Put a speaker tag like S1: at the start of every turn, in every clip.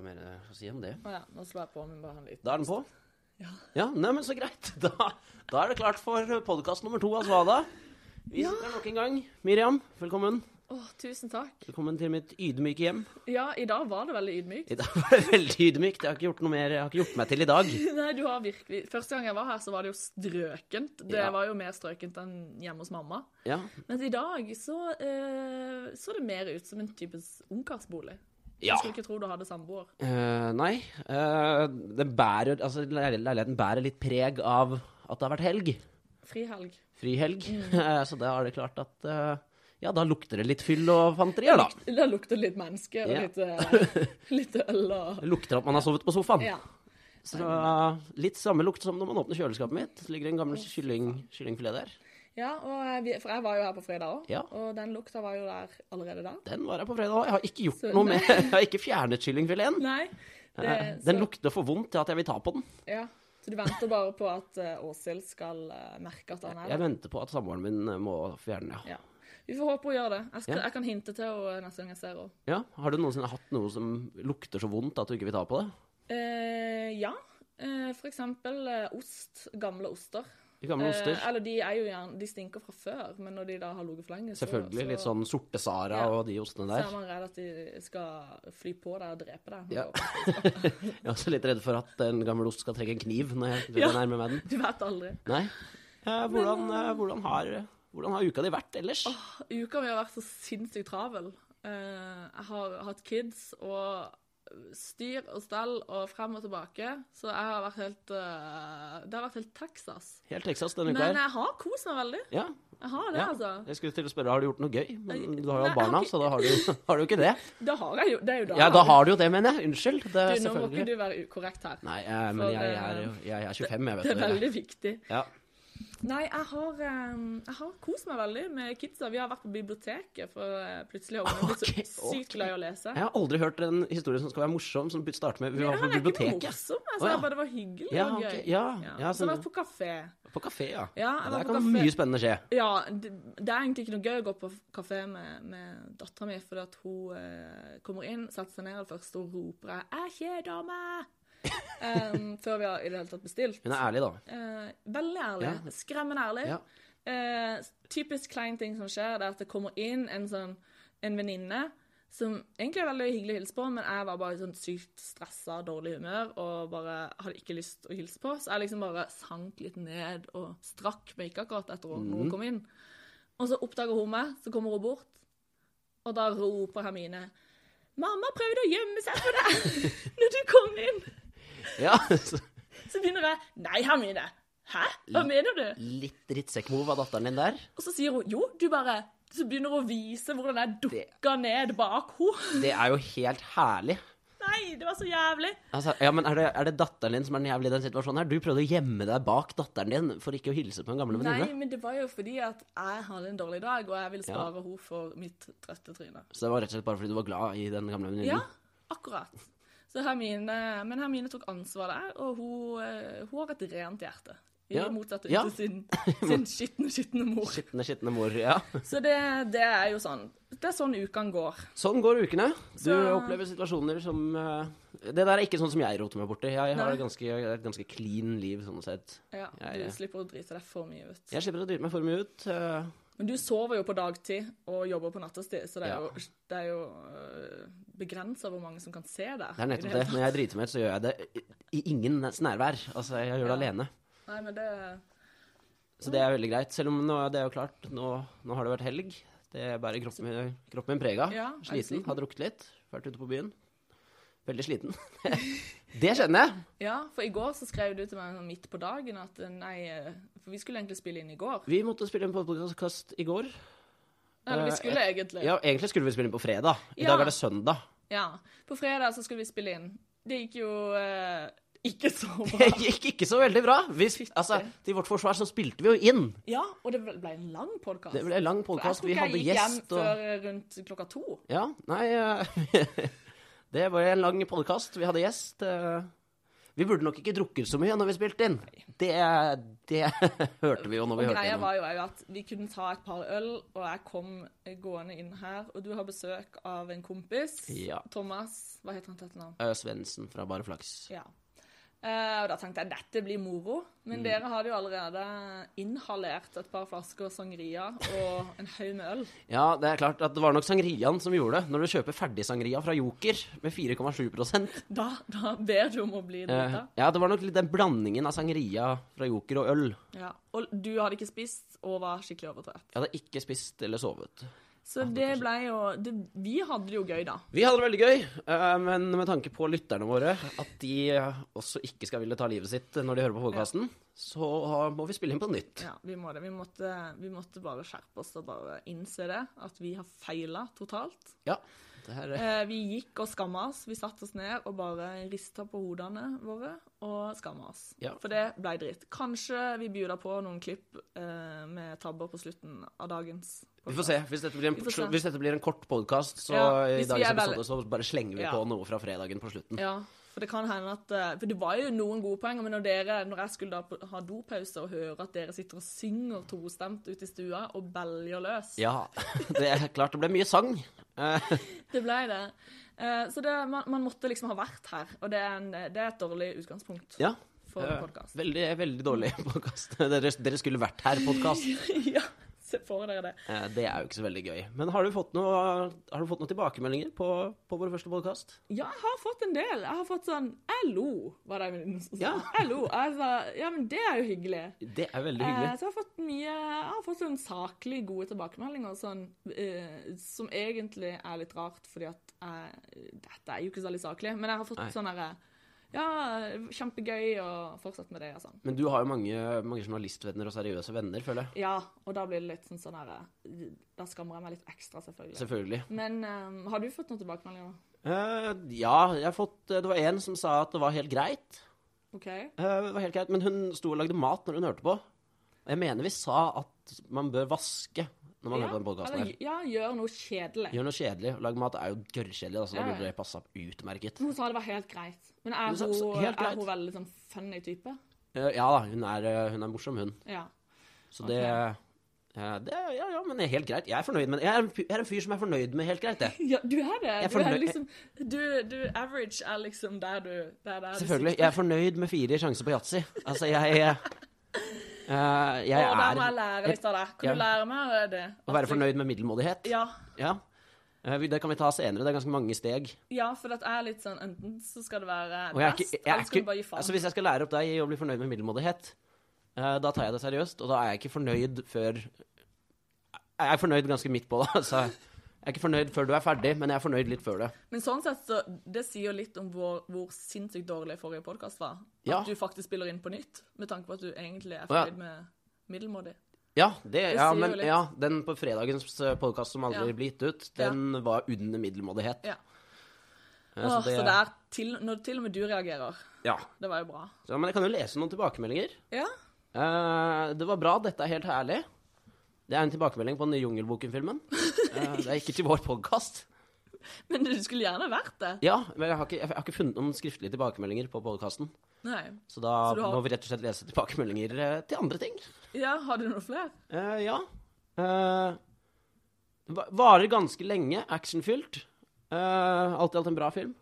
S1: å si om det?
S2: Å ja, nå slår jeg på, men bare en liten
S1: Da er den på? Ja. ja Neimen, så greit. Da, da er det klart for podkast nummer to av Svada. Vi
S2: Ja.
S1: sitter nok en gang. Miriam, velkommen.
S2: Å, tusen takk.
S1: Velkommen til mitt ydmyke hjem.
S2: Ja, i dag var det veldig ydmykt.
S1: I dag var det veldig ydmykt. Jeg har ikke gjort noe mer. Jeg har ikke gjort meg til i dag.
S2: Nei, du har virkelig Første gang jeg var her, så var det jo strøkent. Det
S1: Ja.
S2: var jo mer strøkent enn hjemme hos mamma.
S1: Ja,
S2: Men i dag så eh, så det mer ut som en type ungkarsbolig.
S1: Ja.
S2: Jeg skulle ikke tro du hadde samboer.
S1: Eh, nei. eh, det bærer, altså, leil- leiligheten bærer litt preg av at det har vært helg.
S2: Frihelg.
S1: Frihelg. Eh, så da er det klart at eh, Ja, da lukter det litt fyll og fanterier, da.
S2: Det lukter litt menneske og
S1: Ja.
S2: litt, eh, litt øl og
S1: Det lukter at man har sovet på sofaen.
S2: Ja.
S1: Så eh, Litt samme lukt som når man åpner kjøleskapet mitt. Så ligger det en gammel kylling, kyllingfilet der.
S2: ja og eh, vi, for jeg var jo her på fredag òg,
S1: Ja.
S2: og den lukta var jo der allerede da.
S1: Den var jeg på fredag òg. Jeg har ikke gjort
S2: Så-
S1: noe med Jeg har ikke fjernet kyllingfileten.
S2: Nei. Det,
S1: Eh, Den
S2: så-
S1: lukter for vondt til at jeg vil ta på den.
S2: Ja, så du venter bare på at eh, Åshild skal eh, merke at han er
S1: Jeg
S2: der?
S1: venter på at samboeren min eh, må fjerne den, ja.
S2: Ja. Vi får håpe hun gjør det. Jeg, skal,
S1: Ja.
S2: jeg kan hinte til henne eh, neste gang jeg ser henne.
S1: ja. Har du noensinne hatt noe som lukter så vondt at du ikke vil ta på det?
S2: Eh, ja, eh, for eksempel eh, ost. Gamle oster.
S1: Gamle oster.
S2: Eh, eller de er jo gjerne De stinker fra før, men når de da har ligget for lenge, så,
S1: Selvfølgelig.
S2: så,
S1: Litt sånn sorte Sara
S2: Ja.
S1: og de ostene
S2: så er
S1: der.
S2: man redd at de skal fly på deg og drepe deg.
S1: Ja. Jeg er også litt redd for at en gammel ost skal trekke en kniv når jeg
S2: Ja.
S1: ja. nærmer meg den.
S2: Du vet aldri.
S1: Nei. Eh, hvordan, eh, hvordan, har, hvordan har uka di vært ellers?
S2: Uka mi har vært så sinnssykt travel. Eh, jeg har hatt kids og styr og stell og frem og tilbake. Så jeg har vært helt eh, Det har vært helt Texas.
S1: Helt Texas denne uka
S2: Men
S1: her.
S2: jeg har kost meg veldig.
S1: Ja.
S2: Jeg har det,
S1: ja.
S2: altså.
S1: Jeg skulle til å spørre, har du gjort noe gøy? Men du har
S2: Nei,
S1: jo
S2: jeg har
S1: barna,
S2: ikke-
S1: så da har du, har du ikke det.
S2: Det har jeg jo. Det er jo da.
S1: Ja, da har du jo det, mener jeg. Unnskyld. Det
S2: du,
S1: er
S2: nå må ikke
S1: selvfølgelig.
S2: du være ukorrekt her.
S1: Nei, eh, men
S2: For,
S1: jeg, jeg, er,
S2: eh,
S1: jo- jeg er 25, jeg
S2: Det
S1: vet
S2: er
S1: det.
S2: veldig viktig.
S1: Ja.
S2: Nei, jeg har, eh, jeg har kost meg veldig med kidsa. Vi har vært på biblioteket, for eh, plutselig har ungene blitt
S1: Ok,
S2: så sykt
S1: ok.
S2: glad i å lese.
S1: Jeg har aldri hørt en historie som skal være morsom, som starter med Vi var på
S2: han er ikke noe
S1: biblioteket.
S2: morsom. Jeg
S1: Å,
S2: sa
S1: ja.
S2: bare det var hyggelig
S1: Ja,
S2: og gøy.
S1: ok, ja, ja,
S2: så har jeg
S1: sånn.
S2: vært på kafé.
S1: På kafé, ja.
S2: Ja, jeg var
S1: Der
S2: på
S1: kan
S2: kafé.
S1: mye spennende skje.
S2: Ja, det, det er egentlig ikke noe gøy å gå på kafé med, med dattera mi, fordi at hun eh, kommer inn, setter seg ned, og det første hun roper, er 'Jeg kjeder meg!' Em, før vi har i det hele tatt bestilt.
S1: Hun er ærlig, da.
S2: Eh, veldig ærlig.
S1: Ja.
S2: Skremmende ærlig.
S1: Ja.
S2: Eh, typisk klein ting som skjer, det er at det kommer inn en sånn en venninne som egentlig er veldig hyggelig å hilse på, men jeg var bare i sånn sykt stressa, dårlig humør og bare hadde ikke lyst å hilse på. Så jeg liksom bare sank litt ned og strakk meg ikke akkurat etter at
S1: Mhm.
S2: hun kom inn. Og så oppdager hun meg, så kommer hun bort, og da roper Hermine 'Mamma prøvde å gjemme seg for deg når du kom inn.'
S1: Ja, så
S2: Så begynner jeg 'Nei, Hermine. Hæ? Hva mener du?'
S1: Litt drittsekkmove av datteren din der.
S2: Og så sier hun jo, du bare Så begynner hun å vise hvordan jeg dukka ned bak henne.
S1: Det er jo helt herlig.
S2: Nei, det var så jævlig.
S1: Altså, ja, men er det, er det datteren din som er den jævlig i den situasjonen her? Du prøvde å gjemme deg bak datteren din for ikke å hilse på en gamle
S2: Nei,
S1: venninne.
S2: men det var jo fordi at jeg hadde en dårlig dag, og jeg ville
S1: Ja.
S2: spare henne for mitt trøtte tryne.
S1: Så det var rett og slett bare fordi du var glad i den gamle venninnen?
S2: Ja, akkurat. Så Hermine, men Hermine tok ansvar der, og hun, eh, hun har et rent hjerte. I
S1: Ja.
S2: motsatt
S1: Ja.
S2: til sin, sin skitne, skitne mor.
S1: Skitne, skitne mor. Ja.
S2: Så det, det er jo sånn. Det er sånn ukene går.
S1: Sånn går ukene. Du
S2: Så-
S1: opplever situasjoner som eh, Det der er ikke sånn som jeg roter meg borti. Jeg har
S2: Nei.
S1: et ganske, et ganske clean liv, sånn sett.
S2: Ja,
S1: Ja,
S2: du
S1: ja.
S2: slipper å drite deg for mye ut.
S1: Jeg slipper å drite meg for mye ut. eh,
S2: Men du sover jo på dagtid og jobber på nattestid, så det er
S1: Ja.
S2: jo, det er jo øh, begrenset hvor mange som kan se deg.
S1: Det er nettopp det. Når jeg driter meg ut, så gjør jeg det i- i ingen nærvær. Altså, jeg gjør det
S2: Ja. Mm.
S1: alene.
S2: Nei, men det...
S1: Så det er veldig greit. Selv om nå, det er jo klart, nå, nå har det vært helg. Det bærer kroppen min, kroppen min preg av.
S2: Ja, er du
S1: sliten,
S2: sliten?
S1: har drukket litt, vært ute på byen. Veldig sliten. det kjenner jeg.
S2: Ja, for i går så skrev du til meg sånn midt på dagen at øh, nei, øh, for vi skulle egentlig spille inn i går.
S1: Vi måtte spille inn podkast i går.
S2: Eller
S1: Eh,
S2: vi skulle egentlig. Ja.
S1: Ja, Egentlig skulle vi spille inn på fredag. I
S2: Ja.
S1: dag er det søndag.
S2: På fredag så skulle vi spille inn. Det gikk jo øh, ikke så
S1: Det
S2: bra.
S1: gikk ikke så veldig bra. Vi, sp- altså, til vårt forsvar så spilte vi jo inn.
S2: Ja, og det ble en lang podcast.
S1: Det ble lang
S2: jeg
S1: podkast.
S2: tror
S1: Vi
S2: ikke
S1: hadde
S2: jeg gikk hjem
S1: gjest og
S2: før øh, rundt klokka to.
S1: Ja, nei eh, Det var en lang podkast. Vi hadde gjest. eh, Vi burde nok ikke drukket så mye når vi spilte inn. Det, det hørte vi jo når vi hørte
S2: Greia
S1: gjennom.
S2: var jo også at vi kunne ta et par øl, og jeg kom gående inn her. Og du har besøk av en kompis.
S1: Ja.
S2: Thomas. Hva heter han til etternavn?
S1: Ø, Eh, Svendsen fra Bare Flaks.
S2: Ja. Eh, og da tenkte jeg dette blir moro. Men
S1: Mm.
S2: dere hadde jo allerede inhalert et par flasker sangria og en haug med øl.
S1: Ja, det er klart at det var nok sangriaen som gjorde det. Når du kjøper ferdig sangria fra Joker med 4,7
S2: Da, da ber du om å bli
S1: eh,
S2: drita.
S1: Ja, det var nok litt den blandingen av sangria fra Joker og øl.
S2: Ja. Og du hadde ikke spist og var skikkelig overtrøtt.
S1: Jeg hadde ikke spist eller sovet. Ah,
S2: Så det ble jo det, Vi hadde det jo gøy, da.
S1: Vi hadde det veldig gøy, eh, men med tanke på lytterne våre, at de eh, også ikke skal ville ta livet sitt når de hører på podkasten, så eh, må vi spille inn på nytt.
S2: Ja, vi må det. Vi måtte, vi måtte bare skjerpe oss og bare innse det. At vi har feila totalt.
S1: Ja. Det her, eh,
S2: Eh, vi gikk og skamma oss. Vi satte oss ned og bare rista på hodene våre og skamma oss.
S1: Ja.
S2: For det blei dritt. Kanskje vi bjuda på noen klipp eh, med tabber på slutten av dagens.
S1: vi får se. Hvis dette blir en,
S2: Vi får se.
S1: hvis dette blir en kort podkast, så
S2: Ja,
S1: i
S2: hvis vi
S1: dagens
S2: er veldig-
S1: episode så bare slenger vi
S2: Ja.
S1: på noe fra fredagen på slutten.
S2: Ja, for det kan hende at eh, For det var jo noen gode poeng, men når dere Når jeg skulle da på- ha dopause og høre at dere sitter og synger tostemt ute i stua og beljer løs
S1: Ja, det er klart det ble mye sang. Eh,
S2: Det ble det. Eh, så det, man, man måtte liksom ha vært her, og det er, en, det er et dårlig utgangspunkt
S1: ja.
S2: for
S1: Eh,
S2: podkast.
S1: Veldig, veldig dårlig podkast. Dere, dere skulle vært her, podkast.
S2: ja, se for dere det.
S1: Eh, Det er jo ikke så veldig gøy. Men har du fått, noe, har du fått noen tilbakemeldinger på, på vår første podkast?
S2: Ja, jeg har fått en del. Jeg har fått sånn Jeg lo, var det jeg ville sa.
S1: Ja.
S2: Jeg lo. Jeg sa ja, men det er jo hyggelig.
S1: Det er veldig
S2: Eh,
S1: hyggelig.
S2: så jeg har fått mye Jeg har fått sånn saklig gode tilbakemeldinger sånn, eh, som egentlig er litt rart, fordi at jeg, Dette er jo ikke så veldig saklig, men jeg har fått
S1: Nei.
S2: sånn herre Ja, kjempegøy, og fortsett med det, og sånn.
S1: Men du har jo mange, mange journalistvenner og seriøse venner, føler jeg.
S2: Ja, og da blir det litt sånn sånn her Da skammer jeg meg litt ekstra, selvfølgelig.
S1: Selvfølgelig.
S2: Men ehm, har du fått noen tilbakemeldinger?
S1: Eh, ja, jeg har fått eh, Det var en som sa at det var helt greit.
S2: OK?
S1: Eh, det var helt greit, Men hun sto og lagde mat når hun hørte på. Jeg mener vi sa at man bør vaske når man
S2: ja,
S1: hører på den podkasten her.
S2: eller, ja, gjør noe kjedelig.
S1: Gjør noe kjedelig. Å lage mat er jo gørrkjedelig, da, så da
S2: Ja, ja.
S1: burde det passe opp utmerket.
S2: Hun sa det var helt greit. Men
S1: Hun
S2: er
S1: sa-
S2: hun,
S1: sa- helt
S2: er
S1: greit.
S2: hun veldig sånn funny type?
S1: Eh, Ja da, hun er, eh, hun er morsom, hun.
S2: Ja.
S1: Så det, eh, det Ja ja, men det er helt greit. Jeg er fornøyd med Jeg er en fyr, jeg er en fyr som er fornøyd med helt greit, det.
S2: ja du er det.
S1: Jeg
S2: Du er
S1: fornøy-
S2: liksom du, du, Average er liksom der du der, der
S1: Selvfølgelig. Jeg er fornøyd med fire sjanser på yatzy. Altså, jeg eh, eh, Jeg
S2: er Der må
S1: er
S2: jeg lære litt av deg. Kan
S1: Ja.
S2: du lære meg det?
S1: Å være
S2: At du-
S1: fornøyd med middelmådighet.
S2: Ja.
S1: Ja. Eh, vi- Det kan vi ta senere. Det er ganske mange steg.
S2: ja, for at jeg er litt sånn Enten så skal det være
S1: Og jeg er ikke,
S2: best,
S1: jeg er
S2: eller så kan du
S1: ikke,
S2: bare gi faen.
S1: altså, hvis jeg skal lære opp deg i å bli fornøyd med middelmådighet, eh, da tar jeg det seriøst, og da er jeg ikke fornøyd før Jeg er fornøyd ganske midt på, da. Så jeg er ikke fornøyd før du er ferdig, men jeg er fornøyd litt før det.
S2: Men sånn sett, så det sier jo litt om hvor, hvor sinnssykt dårlig forrige podkast var. At
S1: Ja.
S2: du faktisk spiller inn på nytt, med tanke på at du egentlig er
S1: ja.
S2: fornøyd med middelmådig.
S1: Ja, det,
S2: Det
S1: ja,
S2: sier jo
S1: men
S2: litt.
S1: ja, den på fredagens podkast som aldri
S2: Ja.
S1: ble gitt ut, den var under middelmådighet.
S2: Ja.
S1: Eh,
S2: Åh,
S1: Så
S2: så
S1: det,
S2: det er til, når til og med du reagerer.
S1: ja.
S2: Det var jo bra.
S1: Så, men jeg kan jo lese noen tilbakemeldinger.
S2: Ja.
S1: Eh, det var bra, dette er helt herlig. Det er en tilbakemelding på den nye Jungelboken-filmen. Eh, det er ikke til vår podkast.
S2: Men du skulle gjerne vært det.
S1: Ja, men jeg har, ikke, jeg har ikke funnet noen skriftlige tilbakemeldinger på podkasten.
S2: Nei.
S1: Så da
S2: Så du har-
S1: må vi rett og slett lese tilbakemeldinger eh, til andre ting.
S2: Ja, har du noe flere?
S1: Eh, ja. Eh, va- varer ganske lenge, actionfylt. Uh, alt i alt en bra film.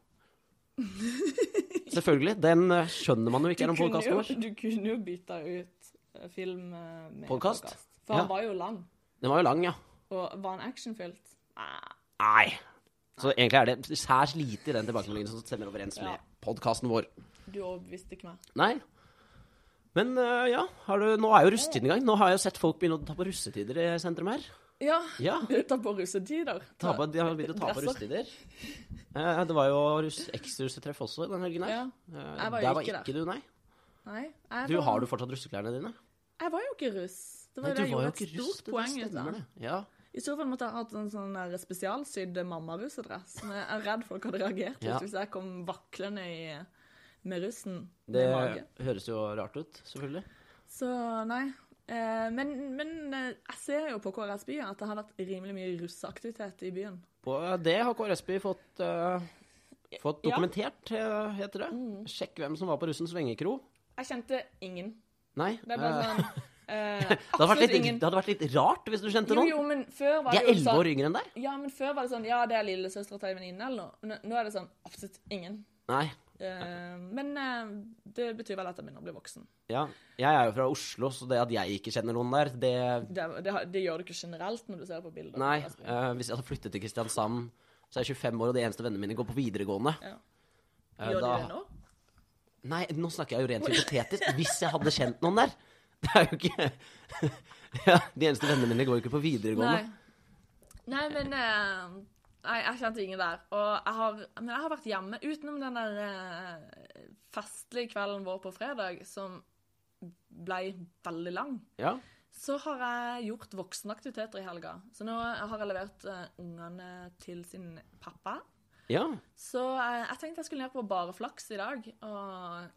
S1: Selvfølgelig. Den eh, skjønner man jo ikke er en podkast
S2: jo,
S1: vår.
S2: du kunne jo bytta ut eh, film eh, med
S1: Podcast?
S2: podcast. For han
S1: Ja.
S2: var jo lang.
S1: Den var jo lang, ja.
S2: Og var han actionfylt? Ah,
S1: Nei. Så egentlig er det særs lite i den tilbakemeldingen som stemmer overens
S2: Ja.
S1: med podkasten vår.
S2: du overbeviste ikke meg.
S1: Nei. Men eh, ja, har du, nå er jo russetiden i gang. Nå har jeg jo sett folk begynne å ta på russetider i sentrum her.
S2: Ja.
S1: Ja.
S2: Ta på russetider.
S1: Ta på, de har begynt å ta på
S2: Dresser.
S1: russetider. Eh, det var jo russ, ekstrarussetreff også den helgen her.
S2: Ja.
S1: Eh,
S2: Jeg var jo
S1: der var
S2: ikke
S1: ikke du, nei.
S2: Nei. jeg
S1: Du,
S2: var-
S1: har du fortsatt russeklærne dine?
S2: Jeg var jo ikke russ. Det var
S1: Nei,
S2: jo det
S1: var
S2: jeg gjorde
S1: jo
S2: et
S1: ikke russ,
S2: stort
S1: det- det
S2: poeng ut
S1: stemmer
S2: av.
S1: det. Ja.
S2: I så fall måtte jeg hatt en sånn der spesialsydd mammarussedress. Men jeg er redd folk hadde reagert
S1: Ja.
S2: hvis jeg kom vaklende i, med russen
S1: Det
S2: med mage.
S1: høres jo rart ut, selvfølgelig.
S2: Så nei. Eh, men men eh, jeg ser jo på KRS By at det har vært rimelig mye russeaktivitet i byen.
S1: På det har KRSB fått eh, Fått
S2: Ja. Mm.
S1: dokumentert, eh, heter det. Sjekk hvem som var på russens vengekro.
S2: Jeg kjente ingen.
S1: Nei.
S2: Det er bare
S1: eh,
S2: sånn eh,
S1: det, hadde vært
S2: Absolutt
S1: litt,
S2: ingen.
S1: det hadde vært litt rart hvis du kjente
S2: Jo,
S1: noen.
S2: jo, men før var
S1: De
S2: det
S1: er
S2: jo
S1: elleve
S2: sånn
S1: år yngre enn deg.
S2: Ja, men før var det sånn Ja, det er lillesøstera til ei venninne, eller noe. Nå- Nå er det sånn absolutt ingen.
S1: Nei.
S2: Eh, men eh, det betyr vel at jeg begynner å bli voksen.
S1: Ja. Jeg er jo fra Oslo, så det at jeg ikke kjenner noen der, det
S2: Det, det, har- det gjør du ikke generelt når du ser på bilder.
S1: Nei.
S2: Altså,
S1: eh, hvis jeg hadde flyttet til Kristiansand, så er jeg 25 år, og de eneste vennene mine går på videregående.
S2: Ja.
S1: Eh,
S2: gjør
S1: da-
S2: de det nå?
S1: Nei, nå snakker jeg jo rent hypotetisk. Hvis jeg hadde kjent noen der. Det er jo ikke ja, De eneste vennene mine går jo ikke på videregående.
S2: Nei. Nei, men eh, Nei, jeg kjente ingen der. Og jeg har, men jeg har vært hjemme utenom den der eh, festlige kvelden vår på fredag, som ble veldig lang.
S1: Ja.
S2: Så har jeg gjort voksenaktiviteter i helga. Så nå har jeg levert eh, ungene til sin pappa.
S1: ja.
S2: Så eh, jeg tenkte jeg skulle ned på bare flaks i dag, og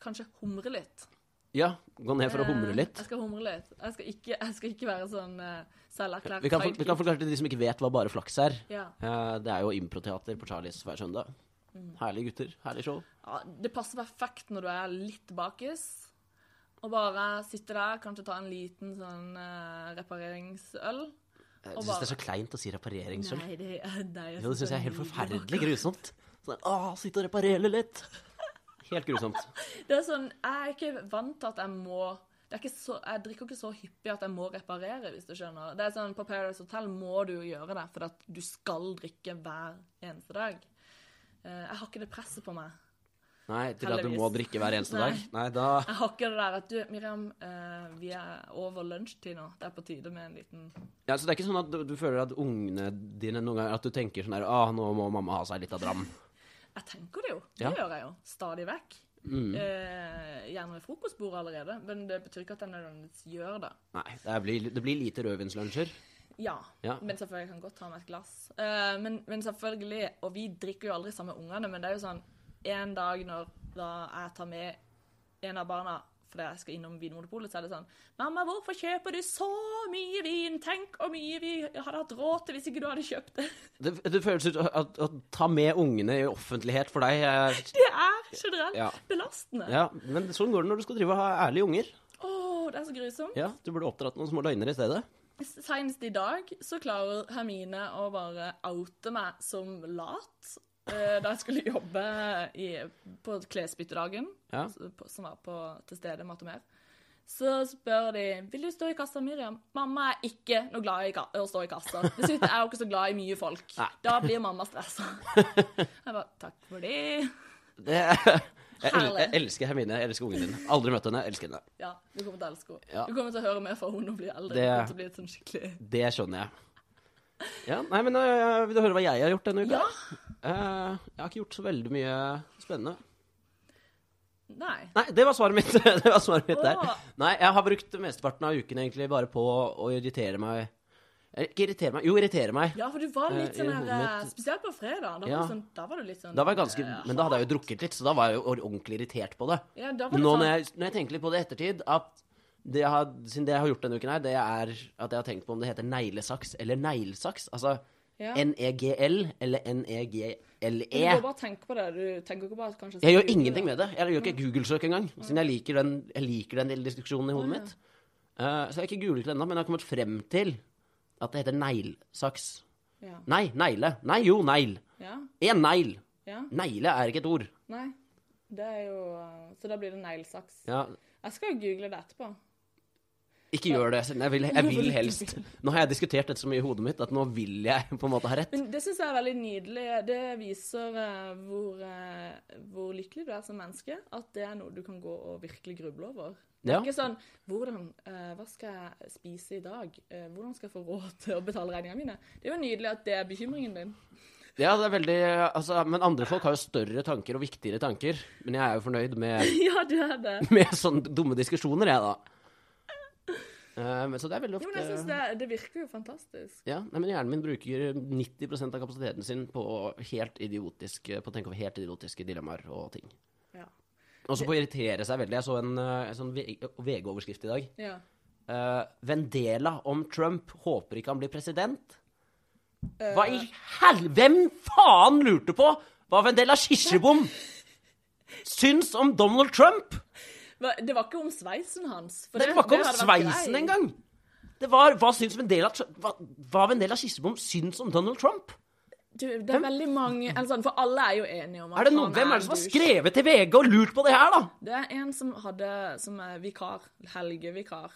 S2: kanskje humre litt.
S1: Ja. Gå ned for å humre
S2: Eh,
S1: litt.
S2: Jeg skal humre litt. Jeg skal ikke, jeg skal ikke være sånn uh, selverklært
S1: Vi kan, for, vi kan forklare til de som ikke vet hva bare flaks er.
S2: Ja.
S1: Eh, Det er jo improteater på Charlies hver søndag.
S2: Mm.
S1: Herlige gutter. Herlig show.
S2: ja, det passer perfekt når du er litt bakis. Og bare sitte der, kanskje ta en liten sånn eh, repareringsøl.
S1: Jeg syns det
S2: Og
S1: er
S2: bare-
S1: så kleint å si repareringsøl.
S2: Nei, det, nei,
S1: Jo,
S2: jeg
S1: det syns jeg er helt
S2: nydelig
S1: forferdelig grusomt. Sånn, Å, sitte og reparere litt. Helt grusomt.
S2: Det er sånn, jeg er ikke vant til at jeg må det er ikke så, Jeg drikker ikke så hyppig at jeg må reparere, hvis du skjønner. Det er sånn, På Paradise Hotel må du jo gjøre det, for at du skal drikke hver eneste dag. Eh, Jeg har ikke det presset på meg.
S1: Nei, til at du
S2: Heldigvis.
S1: må drikke hver eneste
S2: Nei.
S1: dag. Nei, da
S2: Jeg har ikke det der at du, Miriam, eh, vi er over lunsjtid nå. Det er på tide med en liten
S1: Ja, så det er ikke sånn at du, du føler at ungene dine noen ganger At du tenker sånn her Å, nå må mamma ha seg litt av dram.
S2: Jeg tenker det jo. Det
S1: Ja.
S2: gjør jeg jo. Stadig vekk. Eh, gjerne ved frokostbordet allerede, men det betyr ikke at jeg nødvendigvis gjør det.
S1: Nei, det blir, det blir lite rødvinslunsjer.
S2: Ja.
S1: Ja.
S2: Men selvfølgelig kan jeg godt ta med et glass. Eh, men, men selvfølgelig, og vi drikker jo aldri sammen med ungene, men det er jo sånn en dag når da jeg tar med en av barna fordi jeg skal innom Vinmonopolet, så er det sånn 'Mamma, hvorfor kjøper du så mye vin? Tenk hvor mye vi hadde hatt råd til hvis ikke du hadde kjøpt det.'
S1: Det, det føles ut at å ta med ungene i offentlighet for deg er
S2: Det er generelt
S1: Ja.
S2: belastende.
S1: Ja, men sånn går det når du skal drive og ha ærlige unger.
S2: Å, det er så grusomt.
S1: Ja, Du burde oppdratt noen små løgner i stedet.
S2: Senest i dag så klarer Hermine å bare oute meg som lat eh, da jeg skulle jobbe i, på klesbyttedagen,
S1: Ja.
S2: s- på- som var på, til stede mat og mer. Så spør de vil du stå i kassa, Miriam. Mamma er ikke noe glad i ka å stå i kassa. Dessuten er hun ikke så glad i mye folk.
S1: Nei.
S2: Da blir mamma stressa. Jeg bare takk for det.
S1: Det, jeg, el, jeg
S2: Herlig.
S1: elsker Hermine, jeg elsker ungen din. Aldri møtt henne, jeg elsker henne.
S2: Ja, du kommer til å elske henne.
S1: Ja.
S2: Du kommer til å høre mer fra henne når hun blir eldre.
S1: Det-
S2: Det... Til å bli et sånn skikkelig...
S1: Det skjønner jeg. Ja, nei, men øh, Vil du høre hva jeg har gjort denne uka?
S2: Ja.
S1: Eh, jeg har ikke gjort så veldig mye spennende.
S2: Nei.
S1: Nei, det var svaret mitt. det var svaret mitt der.
S2: Åh.
S1: Nei, jeg har brukt mesteparten av uken egentlig bare på å irritere meg Eh, Ikke irritere meg, jo, irritere meg.
S2: Ja, for du var litt
S1: Eh, i
S2: sånn her
S1: hodet
S2: eh,
S1: mitt-
S2: Spesielt på fredag. Da,
S1: Ja.
S2: var du sånn, da var du litt sånn
S1: Da var jeg ganske,
S2: eh,
S1: men da hadde jeg jo drukket litt, så da var jeg jo ordentlig irritert på det.
S2: ja, da var
S1: Men
S2: det
S1: nå
S2: sånn,
S1: når jeg, når jeg tenker litt på det i ettertid, at det jeg har, siden det jeg har gjort denne uken her, det er at jeg har tenkt på om det heter neglesaks eller neglesaks. Altså
S2: Ja.
S1: N-E-G-L eller E
S2: Men Du må
S1: N-E-G-L-E.
S2: bare tenke på det. Du tenker ikke bare at kanskje
S1: Jeg gjør ingenting med det. Jeg gjør ikke Google-søk engang, siden jeg liker den, jeg liker den lille diskusjonen i hodet mitt. Eh, så jeg har ikke googlet det ennå, men jeg har kommet frem til at det heter neglesaks.
S2: Ja.
S1: Nei, negle. Nei, jo, negl.
S2: ja.
S1: Én negl.
S2: Ja.
S1: Negle er ikke et ord.
S2: Nei. Det er jo eh, Så da blir det neglesaks.
S1: Ja,
S2: Jeg skal jo google det etterpå.
S1: Ikke gjør det. Siden jeg vil, jeg vil helst. Nå har jeg diskutert dette så mye i hodet mitt at nå vil jeg på en måte ha rett.
S2: Men det syns jeg er veldig nydelig. Det viser eh, hvor, eh, hvor lykkelig du er som menneske. At det er noe du kan gå og virkelig gruble over. Det er
S1: Ja.
S2: ikke sånn hvordan, eh, Hva skal jeg spise i dag? Eh, hvordan skal jeg få råd til å betale regningene mine? Det er jo nydelig at det er bekymringen din.
S1: Ja, det er veldig altså, Men andre folk har jo større tanker og viktigere tanker. Men jeg er jo fornøyd med,
S2: ja, du er det.
S1: med sånne dumme diskusjoner, jeg, da. Eh, men så det er veldig
S2: Jo,
S1: ofte
S2: men jeg synes det, det virker jo fantastisk.
S1: ja, nei, men Hjernen min bruker 90 av kapasiteten sin på helt idiotiske På å tenke over helt idiotiske dilemmaer og ting.
S2: Ja.
S1: Også på å irritere seg veldig. Jeg så en, eh, en sånn V- VG-overskrift i dag.
S2: ja.
S1: Eh, Vendela om Trump håper ikke han blir president. Hva i hel... Hvem faen lurte på Hva Vendela Kirsebom syns om Donald Trump?
S2: Hva- Det var ikke om sveisen hans. for
S1: Det var ikke om
S2: hadde vært
S1: sveisen
S2: grei.
S1: engang! Det var hva syns Vendela Tr- hva, hva Vendela Kirsebom syns om Donald Trump?
S2: Du, det er veldig mange eller sånn, For alle er jo enige om at
S1: Er det noen,
S2: han
S1: hvem er
S2: en
S1: det som har
S2: douche.
S1: skrevet til VG og lurt på det her, da?
S2: Det er en som hadde Som er vikar. Helgevikar.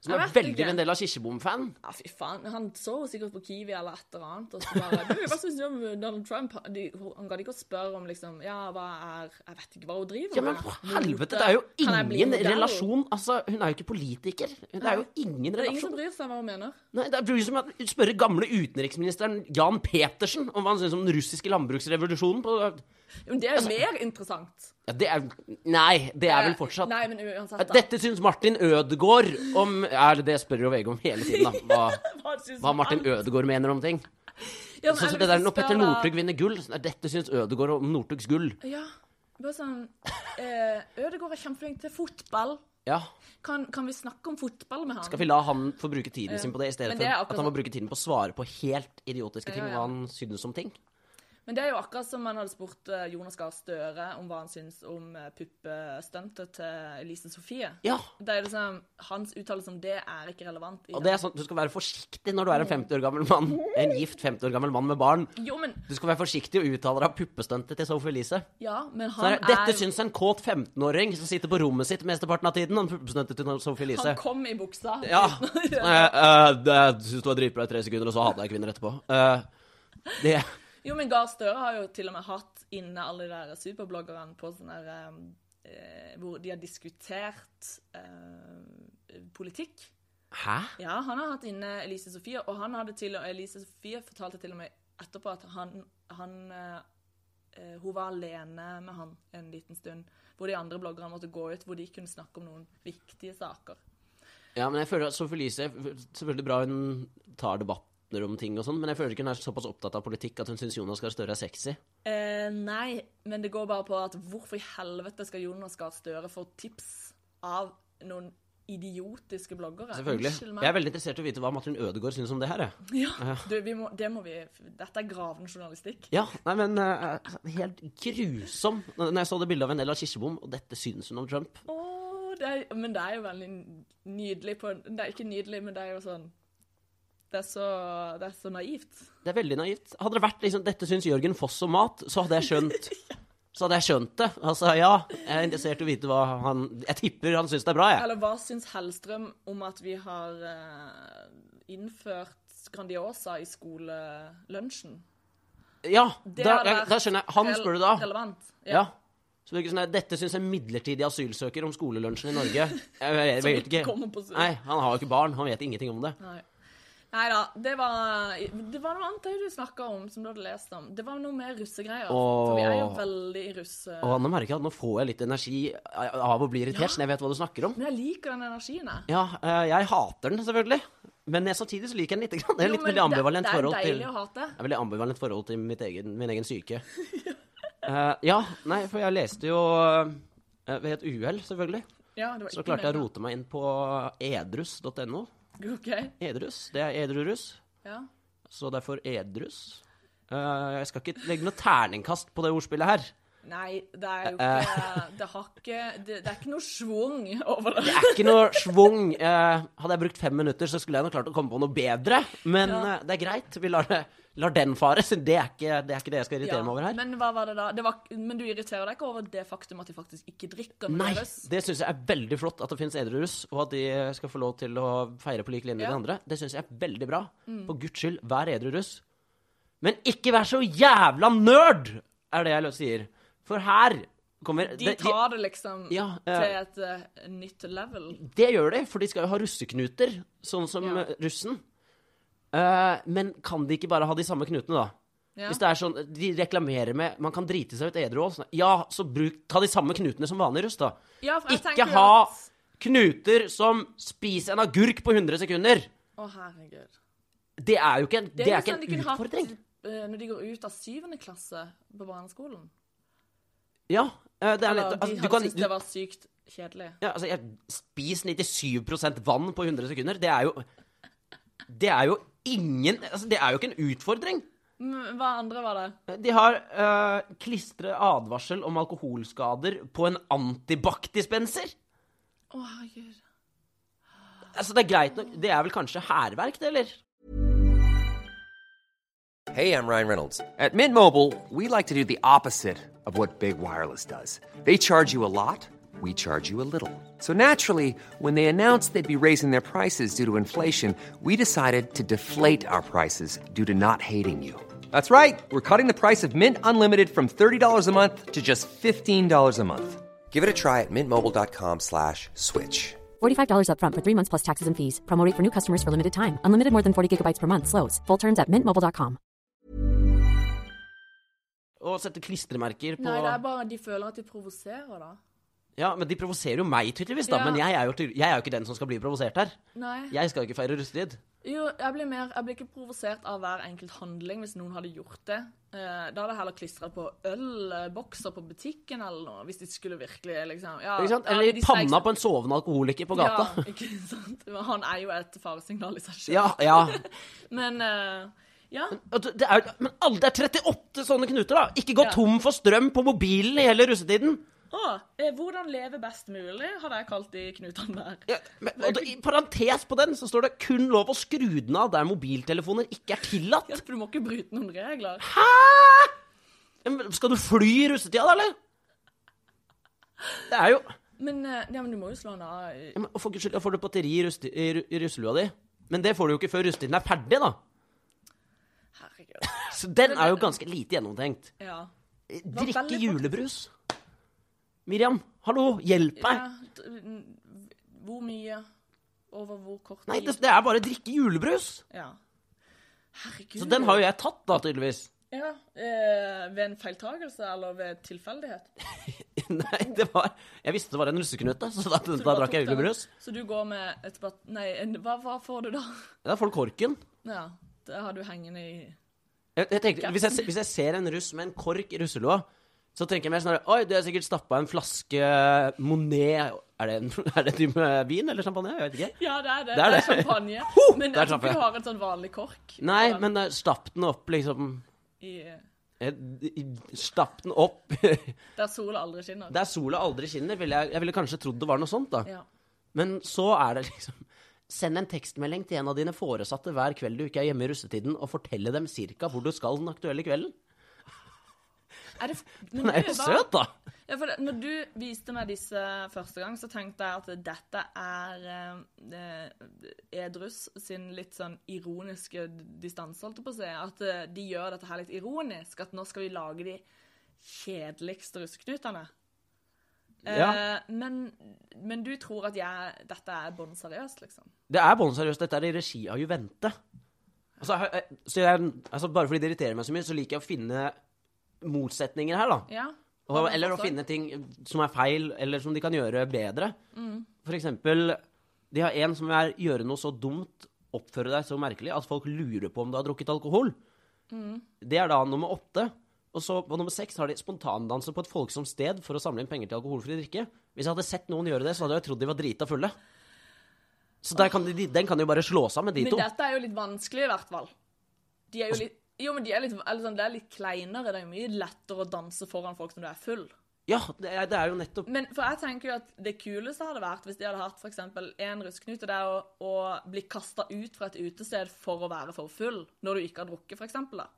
S1: Som
S2: Jeg
S1: er
S2: vet ikke.
S1: veldig Vendela Kirsebom-fan.
S2: Ja, fy faen. Han så jo sikkert på Kiwi eller et eller annet, og så bare du, Hva syns du om Donald Trump? Han- De, han gadd ikke å spørre om liksom Ja, hva er Jeg vet ikke hva hun driver
S1: Ja, men
S2: med.
S1: for
S2: Mote.
S1: helvete, det er jo
S2: Kan jeg bli
S1: ingen
S2: modell?
S1: relasjon. Altså, hun er jo ikke politiker. Det er jo ingen
S2: Det er ingen som
S1: relasjon.
S2: bryr seg om hva hun mener.
S1: Nei, det blir som å spørre gamle utenriksministeren Jan Petersen om hva han syns om den russiske landbruksrevolusjonen. På,
S2: Jo, Men det er jo mer interessant.
S1: ja, det er Nei, Altså, det er vel fortsatt
S2: Nei, men uansett, da.
S1: Dette syns Martin Ødegaard om Er det det jeg spør jo VG om hele tiden, da? Hva,
S2: Hva syns
S1: hva Martin
S2: han?
S1: Ødegaard mener om ting.
S2: Ja,
S1: Sånn
S2: men
S1: som det
S2: eller
S1: der
S2: hvis
S1: når
S2: jeg
S1: Petter
S2: spør da-
S1: Northug vinner gull. sånn, «Nei, Dette syns Ødegaard om Northugs gull.
S2: Ja. Bare sånn eh, Ødegaard er kjempeflink til fotball.
S1: Ja,
S2: Kan, kan vi snakke om fotball med han?
S1: Skal vi la han få bruke tiden sin på det, i stedet
S2: Men
S1: for
S2: det er
S1: at
S2: akkurat
S1: han må
S2: sånn.
S1: bruke tiden på å svare på helt idiotiske ting,
S2: Ja, ja.
S1: hva han synes om ting?
S2: Men det er jo akkurat som man hadde spurt eh, Jonas Gahr Støre om hva han syns om eh, puppestuntet til Elise Sofie.
S1: Ja,
S2: Det er liksom, Hans uttalelse om det er ikke relevant. i
S1: og det er sånn, Du skal være forsiktig når du er en 50 år gammel mann. En gift 50 år gammel mann med barn.
S2: den- Jo, men
S1: Du skal være forsiktig og uttale deg av puppestuntet til Sophie Elise.
S2: Ja, men
S1: Så
S2: han
S1: er, dette
S2: er
S1: syns en kåt 15-åring som sitter på rommet sitt mesteparten av tiden, om puppestuntet til Sophie Elise.
S2: Han kom i buksa.
S1: Ja.
S2: uten å gjøre-
S1: Jeg uh, syns du var dritbra i tre sekunder, og så hater jeg kvinner etterpå. Eh, det
S2: Jo, men Gahr Støre har jo til og med hatt inne alle de der superbloggerne på sånn der eh, Hvor de har diskutert eh, politikk.
S1: Hæ?
S2: Ja, han har hatt inne Elise Sofie, og han hadde til og Elise Sofie fortalte til og med etterpå at han, han eh, eh, Hun var alene med han en liten stund. Hvor de andre bloggerne måtte gå ut, hvor de kunne snakke om noen viktige saker.
S1: Ja, men jeg føler at Sophie Elise Selvfølgelig bra hun tar debatter om ting og sånn, men jeg føler ikke hun er såpass opptatt av politikk at hun syns Jonas Gahr Støre er sexy.
S2: Eh, nei, men det går bare på at hvorfor i helvete skal Jonas Gahr Støre få tips av noen idiotiske bloggere?
S1: Selvfølgelig.
S2: Unnskyld meg.
S1: Jeg er veldig interessert i å vite hva Martin Ødegaard syns om det her, jeg.
S2: Ja, du, vi må, det må vi Dette er gravende journalistikk.
S1: Ja, nei, men eh, helt grusom Når jeg så det bildet av Vendela Kirsebom, og dette syns hun om Trump
S2: Åh, det er, men det er jo veldig nydelig på en- Det er ikke nydelig, men det er jo sånn Det er så, det er så naivt.
S1: Det er veldig naivt. Hadde det vært liksom 'dette syns Jørgen Foss om mat', så hadde jeg skjønt. Så hadde jeg skjønt det. Altså, ja, jeg er interessert i å vite hva han Jeg tipper han syns det er bra, jeg.
S2: Eller hva syns Hellstrøm om at vi har eh, innført Grandiosa i skolelunsjen?
S1: Ja,
S2: Det
S1: da,
S2: hadde
S1: jeg,
S2: vært
S1: da skjønner jeg. Han
S2: Rel-
S1: spør du da.
S2: Relevant.
S1: Ja. Så det er ikke sånn, der, Dette syns en midlertidig asylsøker om skolelunsjen i Norge. Jeg, jeg, jeg,
S2: Som
S1: vet
S2: ikke
S1: ikke.
S2: kommer på søk.
S1: Nei, Han har jo ikke barn. Han vet ingenting om det.
S2: Nei. da, det var Det var noe annet jeg du snakka om, som du hadde lest om. Det var noe med russegreier. For vi er jo
S1: Åh.
S2: veldig i russe...
S1: Og nå merker jeg at nå får jeg litt energi av å bli irritert, så jeg vet hva du snakker om.
S2: Men jeg liker den energien, jeg.
S1: Ja, eh, jeg hater den selvfølgelig, men jeg, samtidig så liker jeg den lite grann. Det er
S2: Jo,
S1: litt
S2: men
S1: veldig ambivalent
S2: det, det er
S1: forhold til
S2: deilig å hate.
S1: Det er veldig ambivalent forhold til mitt egen, min egen syke. Eh, ja, nei, for jeg leste jo eh, ved et uhell, selvfølgelig,
S2: Ja, det var
S1: så
S2: ikke
S1: klarte jeg å
S2: meningen.
S1: rote meg inn på edrus.no.
S2: OK.
S1: Edrus, det er edru russ.
S2: Ja.
S1: Så derfor edrus. Eh, jeg skal ikke legge noe terningkast på det ordspillet her.
S2: Nei, det er jo
S1: Eh,
S2: ikke Det har ikke Det, det er ikke noe schwung over det.
S1: Det er ikke noe schwung. Eh, hadde jeg brukt fem minutter, så skulle jeg nok klart å komme på noe bedre. Men
S2: Ja.
S1: eh, det er greit. Vi lar, det, lar den fare. Så det er, ikke, det er ikke det jeg skal irritere
S2: Ja,
S1: meg over her.
S2: Men hva var det da? Det var, men du irriterer deg ikke over det faktum at de faktisk ikke drikker
S1: Nei,
S2: med russ?
S1: det syns jeg er veldig flott at det fins edru russ, og at de skal få lov til å feire på lik linje med
S2: Ja.
S1: de
S2: Mm.
S1: andre. Det syns jeg er veldig bra. For guds skyld, vær edru russ. Men ikke vær så jævla nerd, er det jeg lø- sier. For her kommer
S2: De
S1: det-
S2: tar det liksom
S1: Ja, eh,
S2: til et eh, nytt level.
S1: Det gjør de, for de skal jo ha russeknuter, sånn som
S2: Ja.
S1: eh, russen. Eh, men kan de ikke bare ha de samme knutene, da?
S2: Ja.
S1: Hvis det er sånn, De reklamerer med Man kan drite seg ut edru òg. Sånn, ja, så bruk, ta de samme knutene som vanlig russ, da.
S2: Ja, for jeg
S1: Ikke
S2: tenker jo
S1: ha
S2: at-
S1: knuter som spiser en agurk på 100 sekunder.
S2: Å, herregud.
S1: Det er jo ikke en, det er
S2: jo
S1: ikke
S2: sånn
S1: en
S2: de kunne hatt,
S1: utfordring.
S2: eh, når de går ut av syvende klasse på barneskolen.
S1: Ja, eh, det er
S2: Eller,
S1: litt,
S2: de
S1: altså,
S2: hadde
S1: du kan,
S2: syntes
S1: du,
S2: det var sykt kjedelig.
S1: ja, altså, jeg, Spis 97 vann på 100 sekunder. Det er jo Det er jo ingen altså, Det er jo ikke en utfordring.
S2: Mm, Hva andre var det?
S1: De har uh, klistre advarsel om alkoholskader på en antibac-dispenser!
S2: Å, herregud.
S1: Altså, det er greit nok. Det er vel kanskje hærverk, det, eller?
S3: Hey, I'm Ryan Reynolds. At Mint Mobile, we like to do the opposite of what Big Wireless does. They charge you a lot, we charge you a little. So naturally, when they announced they'd be raising their prices due to inflation, we decided to deflate our prices due to not hating you. That's right. We're cutting the price of Mint Unlimited from $30 a month to just $15 a month. Give it a try at mintmobile.com slash switch.
S4: $45 upfront for three months plus taxes and fees. Promo rate for new customers for limited time. Unlimited more than 40 gigabytes per month. Slows. Full terms at mintmobile.com.
S1: Å sette klistremerker på
S2: Nei, det er bare de føler at de provoserer, da.
S1: Ja, men de provoserer jo meg, tydeligvis, da.
S2: Ja.
S1: Men jeg er, jo, ty- jeg er jo ikke den som skal bli provosert her.
S2: Nei.
S1: Jeg skal jo ikke feire russetid.
S2: Jo, jeg blir, mer, jeg blir ikke provosert av hver enkelt handling hvis noen hadde gjort det. Eh, da hadde jeg heller klistra på ølbokser på butikken eller noe, hvis de skulle virkelig liksom ja,
S1: Ikke sant?
S2: ja,
S1: Eller
S2: de
S1: i panna
S2: streik-
S1: på en sovende alkoholiker på gata.
S2: Ja, ikke sant? Men Han er jo et faresignal i seg sjøl.
S1: Ja, ja.
S2: Men eh, ja.
S1: Og Det det er, jo- men alle, det er 38 sånne knuter, da! Ikke gå
S2: Ja.
S1: tom for strøm på mobilen i hele russetiden!
S2: Å, eh, hvordan leve best mulig, hadde jeg kalt de knutene der.
S1: Ja, men, og da, I parentes på den så står det kun lov å skru den av der mobiltelefoner ikke er tillatt.
S2: Ja, for du må ikke bryte noen regler.
S1: Hæ?! Ja, men Skal du fly i russetida, da, eller? Det er jo ja,
S2: Men, eh, ja, men du må jo slå den av. i-
S1: men, For guds skyld, da får du batteri i, rusti, i, ru- i russelua di. Men det får du jo ikke før russetiden er ferdig, da.
S2: Herregud.
S1: Så den er jo ganske lite gjennomtenkt.
S2: Ja. var
S1: Drikke
S2: veldig
S1: julebrus. Miriam, hallo, hjelp meg!
S2: ja. d- n- Hvor mye? Over hvor kort
S1: Nei, det, det er bare drikke julebrus!
S2: Ja. Herregud.
S1: Så den har jo jeg tatt, da, tydeligvis.
S2: Ja, eh, Ved en feiltagelse eller ved tilfeldighet?
S1: Nei, det var Jeg visste det var en russeknute, så da,
S2: Så du
S1: da
S2: bare
S1: drakk jeg
S2: tok den.
S1: julebrus.
S2: Så du går med et bat... Nei, en, hva, hva får du da?
S1: Da får du korken.
S2: Ja, det har du hengende i
S1: Jeg, jeg tenkte, hvis, jeg, se- hvis jeg ser en russ med en kork i russelua, så tenker jeg mer sånn her, Oi, du har sikkert stappa en flaske Monet Er det en, er det en type vin eller champagne? Jeg vet ikke.
S2: Ja, det er det.
S1: Det er det.
S2: champagne.
S1: Ho!
S2: Men
S1: Det er
S2: jeg tror ikke
S1: champagne.
S2: du har en sånn vanlig kork.
S1: Nei, men eh, stapp den opp, liksom.
S2: I,
S1: Eh, i- Stapp den opp. Der
S2: der sola aldri skinner.
S1: sola aldri skinner, ville jeg, jeg ville kanskje trodd det var noe sånt, da.
S2: Ja.
S1: Men så er det liksom Send en tekstmelding til en av dine foresatte hver kveld du ikke er hjemme i russetiden, og fortelle dem cirka hvor du skal den aktuelle kvelden.
S2: Er det, men
S1: Den er
S2: du,
S1: jo
S2: hva-
S1: søt, da!
S2: Ja, for det, når du viste meg disse første gang, så tenkte jeg at dette er eh, eh, Edrus sin litt sånn ironiske d- distanse, holdt jeg på å si. At eh, de gjør dette her litt ironisk. At nå skal vi lage de kjedeligste russeknutene. Eh,
S1: Ja.
S2: men, men du tror at jeg, dette er bånn seriøst, liksom?
S1: Det er bånn seriøst. Dette er i regi av Juvente. Altså, jeg- jeg- så jeg, altså, bare fordi det irriterer meg så mye, så liker jeg å finne motsetninger her, da.
S2: Ja?
S1: Og, eller å finne ting som er feil, eller som de kan gjøre bedre.
S2: Mm.
S1: For eksempel, de har en som er 'gjøre noe så dumt, oppføre deg så merkelig', at folk lurer på om du har drukket alkohol.
S2: Mm.
S1: Det er da nummer åtte. Og så på nummer seks har de spontandanse på et folksomt sted for å samle inn penger til alkoholfri drikke. Hvis jeg hadde sett noen gjøre det, så hadde jeg trodd de var drita fulle. Så der kan de, de- den kan de jo bare slå sammen, de
S2: Men
S1: to. Altså-
S2: dette er jo litt vanskelig, i hvert fall. De er jo litt jo, men de er litt, eller sånn, Det er litt kleinere. Det er jo mye lettere å danse foran folk som du er full.
S1: Ja, det er, det er jo nettopp
S2: Men for jeg tenker jo at det kuleste hadde vært hvis de hadde hatt for eksempel en russeknute der å, å bli kasta ut fra et utested for å være for full når du ikke har drukket, for eksempel. Da.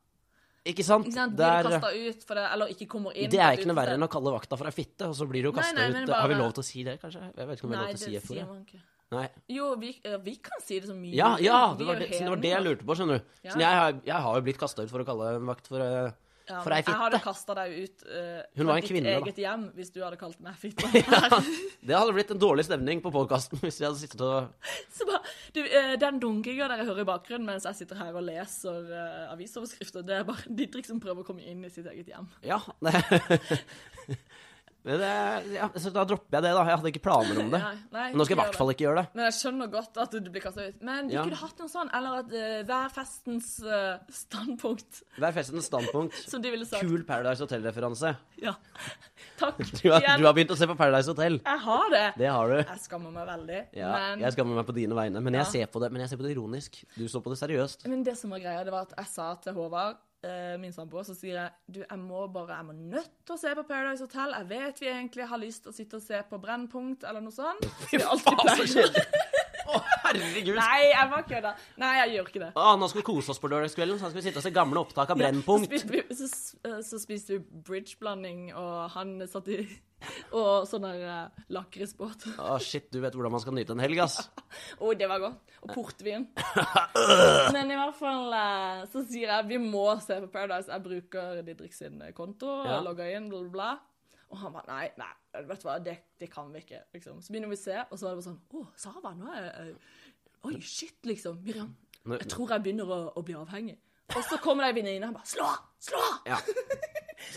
S1: Ikke sant?
S2: Ikke sant? Blir du
S1: Der,
S2: kasta ut for det, eller ikke kommer inn
S1: det
S2: på
S1: er
S2: et
S1: ikke noe verre
S2: utested.
S1: enn å kalle vakta for ei fitte, og så blir du kasta
S2: nei,
S1: ut.
S2: men
S1: Har vi
S2: bare-
S1: lov til å si det, kanskje? Jeg vet ikke om vi har
S2: Nei,
S1: lov til å si
S2: det
S1: f
S2: sier
S1: ordet.
S2: man ikke.
S1: Nei.
S2: Jo, vi, eh, vi kan si det så mye.
S1: Ja,
S2: vi
S1: ja det
S2: vil. Vi
S1: var
S2: er
S1: det,
S2: jo
S1: siden det var
S2: hedninger.
S1: det jeg lurte på, skjønner du.
S2: Ja.
S1: Så jeg, har- jeg har jo blitt kasta ut for å kalle en vakt for, eh,
S2: Ja,
S1: for ei
S2: men Jeg hadde
S1: fitte.
S2: kasta deg ut eh,
S1: Hun
S2: fra
S1: var en
S2: ditt
S1: kvinne, da.
S2: eget hjem hvis du hadde kalt meg fitte.
S1: Det hadde blitt en dårlig stemning på podkasten hvis jeg hadde sittet og
S2: Så bare, du, eh, den dunkinga dere hører i bakgrunnen mens jeg sitter her og leser eh, avisoverskrifter, det er bare Didrik som prøver å komme inn i sitt eget hjem.
S1: Ja. Det. Men det, ja, så da dropper jeg det, da. Jeg hadde ikke planer om det.
S2: Nei, nei,
S1: Men nå skal jeg i
S2: ikke
S1: hvert fall ikke gjøre det.
S2: Men jeg skjønner godt at du blir kasta ut. Men du
S1: Ja.
S2: kunne hatt noe sånn, eller at eh, hver festens eh, standpunkt,
S1: Hver festens standpunkt.
S2: som de ville sagt.
S1: Kul Paradise Hotel-referanse.
S2: Ja. Takk.
S1: Du, har-
S2: igjen.
S1: du har begynt å se på Paradise Hotel.
S2: Jeg har det.
S1: Det har du.
S2: Jeg skammer meg veldig.
S1: Ja,
S2: men...
S1: jeg skammer meg på dine vegne, men jeg ser på det Men jeg ser på det ironisk. Du så på det seriøst.
S2: Men det som var greia, det var at jeg sa til Håvard eh, min samboer, så sier jeg du, jeg må bare, jeg må nødt til å se på Paradise Hotel. Jeg vet vi egentlig har lyst til å sitte og se på Brennpunkt eller noe sånt. Det er alt vi
S1: Faen, så
S2: pleier.
S1: kjedelig! Å, herregud!
S2: Nei, jeg bare kødder. Nei, jeg gjør ikke det.
S1: Ah, nå skal vi kose oss på lørdagskvelden, så skal vi sitte og se gamle opptak av Brennpunkt.
S2: Så spiste vi, så, s- eh, så spiste vi bridgeblanding, og han satt i Og sånn der eh, lakrisbåt.
S1: Å, shit, du vet hvordan man skal nyte en helg, ass.
S2: Å, det var godt. Og portvin. Men i hvert fall eh, så sier jeg vi må se på Paradise. Jeg bruker Didrik sin eh, konto og
S1: Ja.
S2: logger inn, bla, bla, bla. Og han bare nei, nei, vet du hva, det, det kan vi ikke, liksom. Så begynner vi å se, og så er det bare sånn Å, Sava, nå er jeg Oi, shit, liksom. Miriam,
S1: Nå-
S2: jeg tror jeg begynner å, å bli avhengig. Og så kommer det ei venninne, og han bare Slå av! Slå av!
S1: Ja.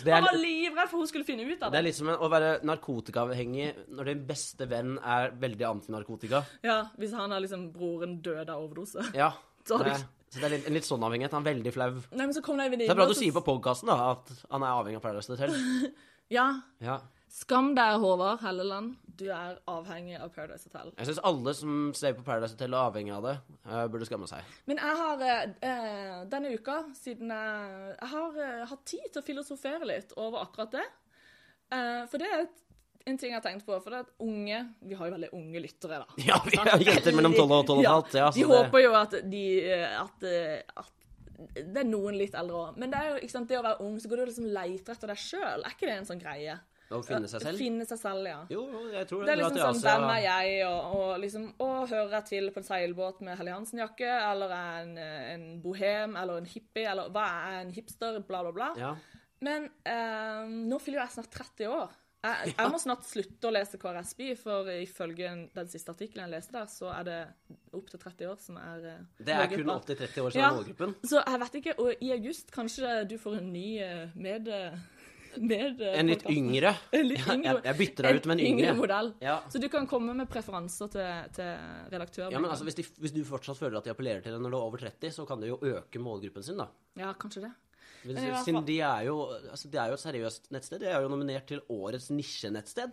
S1: Det
S2: Han var
S1: er,
S2: livredd for hun skulle finne ut av
S1: det
S2: det.
S1: er liksom en, å være narkotikaavhengig når din beste venn er veldig antinarkotika.
S2: Ja, Hvis han er liksom broren død av overdose.
S1: Ja.
S2: Så har du-
S1: Det, så det er litt, en litt sånn avhengighet. Han er veldig flau. Det
S2: Nei, men så kom det ei venninne
S1: er bra
S2: og
S1: du
S2: så-
S1: sier på podkasten at han er avhengig av Paradise Hotel.
S2: Ja,
S1: Ja.
S2: Skam deg, Håvard Helleland. Du er avhengig av Paradise Hotel.
S1: Jeg syns alle som ser på Paradise Hotel og er avhengig av det, eh, burde skamme seg.
S2: Men jeg har eh, eh, denne uka, siden jeg, jeg har eh, hatt tid til å filosofere litt over akkurat det. Eh, for det er et, en ting jeg har tenkt på. For det er at unge Vi har jo veldig unge lyttere, da.
S1: Ja, vi har jenter mellom 12 og 12 og et halvt. Ja, så
S2: de
S1: det-
S2: håper jo at de eh, at, eh, at det er noen litt eldre òg. Men det er jo ikke sant, det å være ung, så går du og liksom leter etter deg sjøl. Er ikke det en sånn greie?
S1: Å finne seg selv.
S2: Finne seg selv, ja.
S1: Jo, jo, jeg tror
S2: Det er
S1: drar
S2: liksom
S1: til
S2: sånn,
S1: Asia.
S2: hvem er jeg, og, og liksom, å, hører jeg til på en seilbåt med Helly Hansen-jakke, eller er jeg en, eh, en bohem, eller en hippie, eller hva er jeg, en hipster, bla, bla, bla.
S1: Ja.
S2: Men eh, nå fyller jo jeg snart 30 år. Jeg, jeg må snart slutte å lese KRSBI, for ifølge en- den siste artikkelen jeg leste der, så er det opp til 30 år som er eh,
S1: Det er kun 80-30
S2: målgruppa.
S1: år siden
S2: Ja,
S1: målgruppen.
S2: så jeg vet ikke, og i august kanskje du får en ny eh, med... med eh,
S1: En litt yngre.
S2: en litt
S1: Ja,
S2: yngre,
S1: jeg- jeg bytter deg ut med en yngre.
S2: modell.
S1: Ja.
S2: Så du kan komme med preferanser til, til redaktør.
S1: Ja, men altså, hvis, de, hvis du fortsatt føler at de appellerer til deg når du er over 30, så kan du jo øke målgruppen sin, da.
S2: Ja, kanskje det.
S1: Hvis,
S2: Men i hvert
S1: siden
S2: fall-
S1: de er jo, altså, det er jo et seriøst nettsted. De er jo nominert til årets nisjenettsted.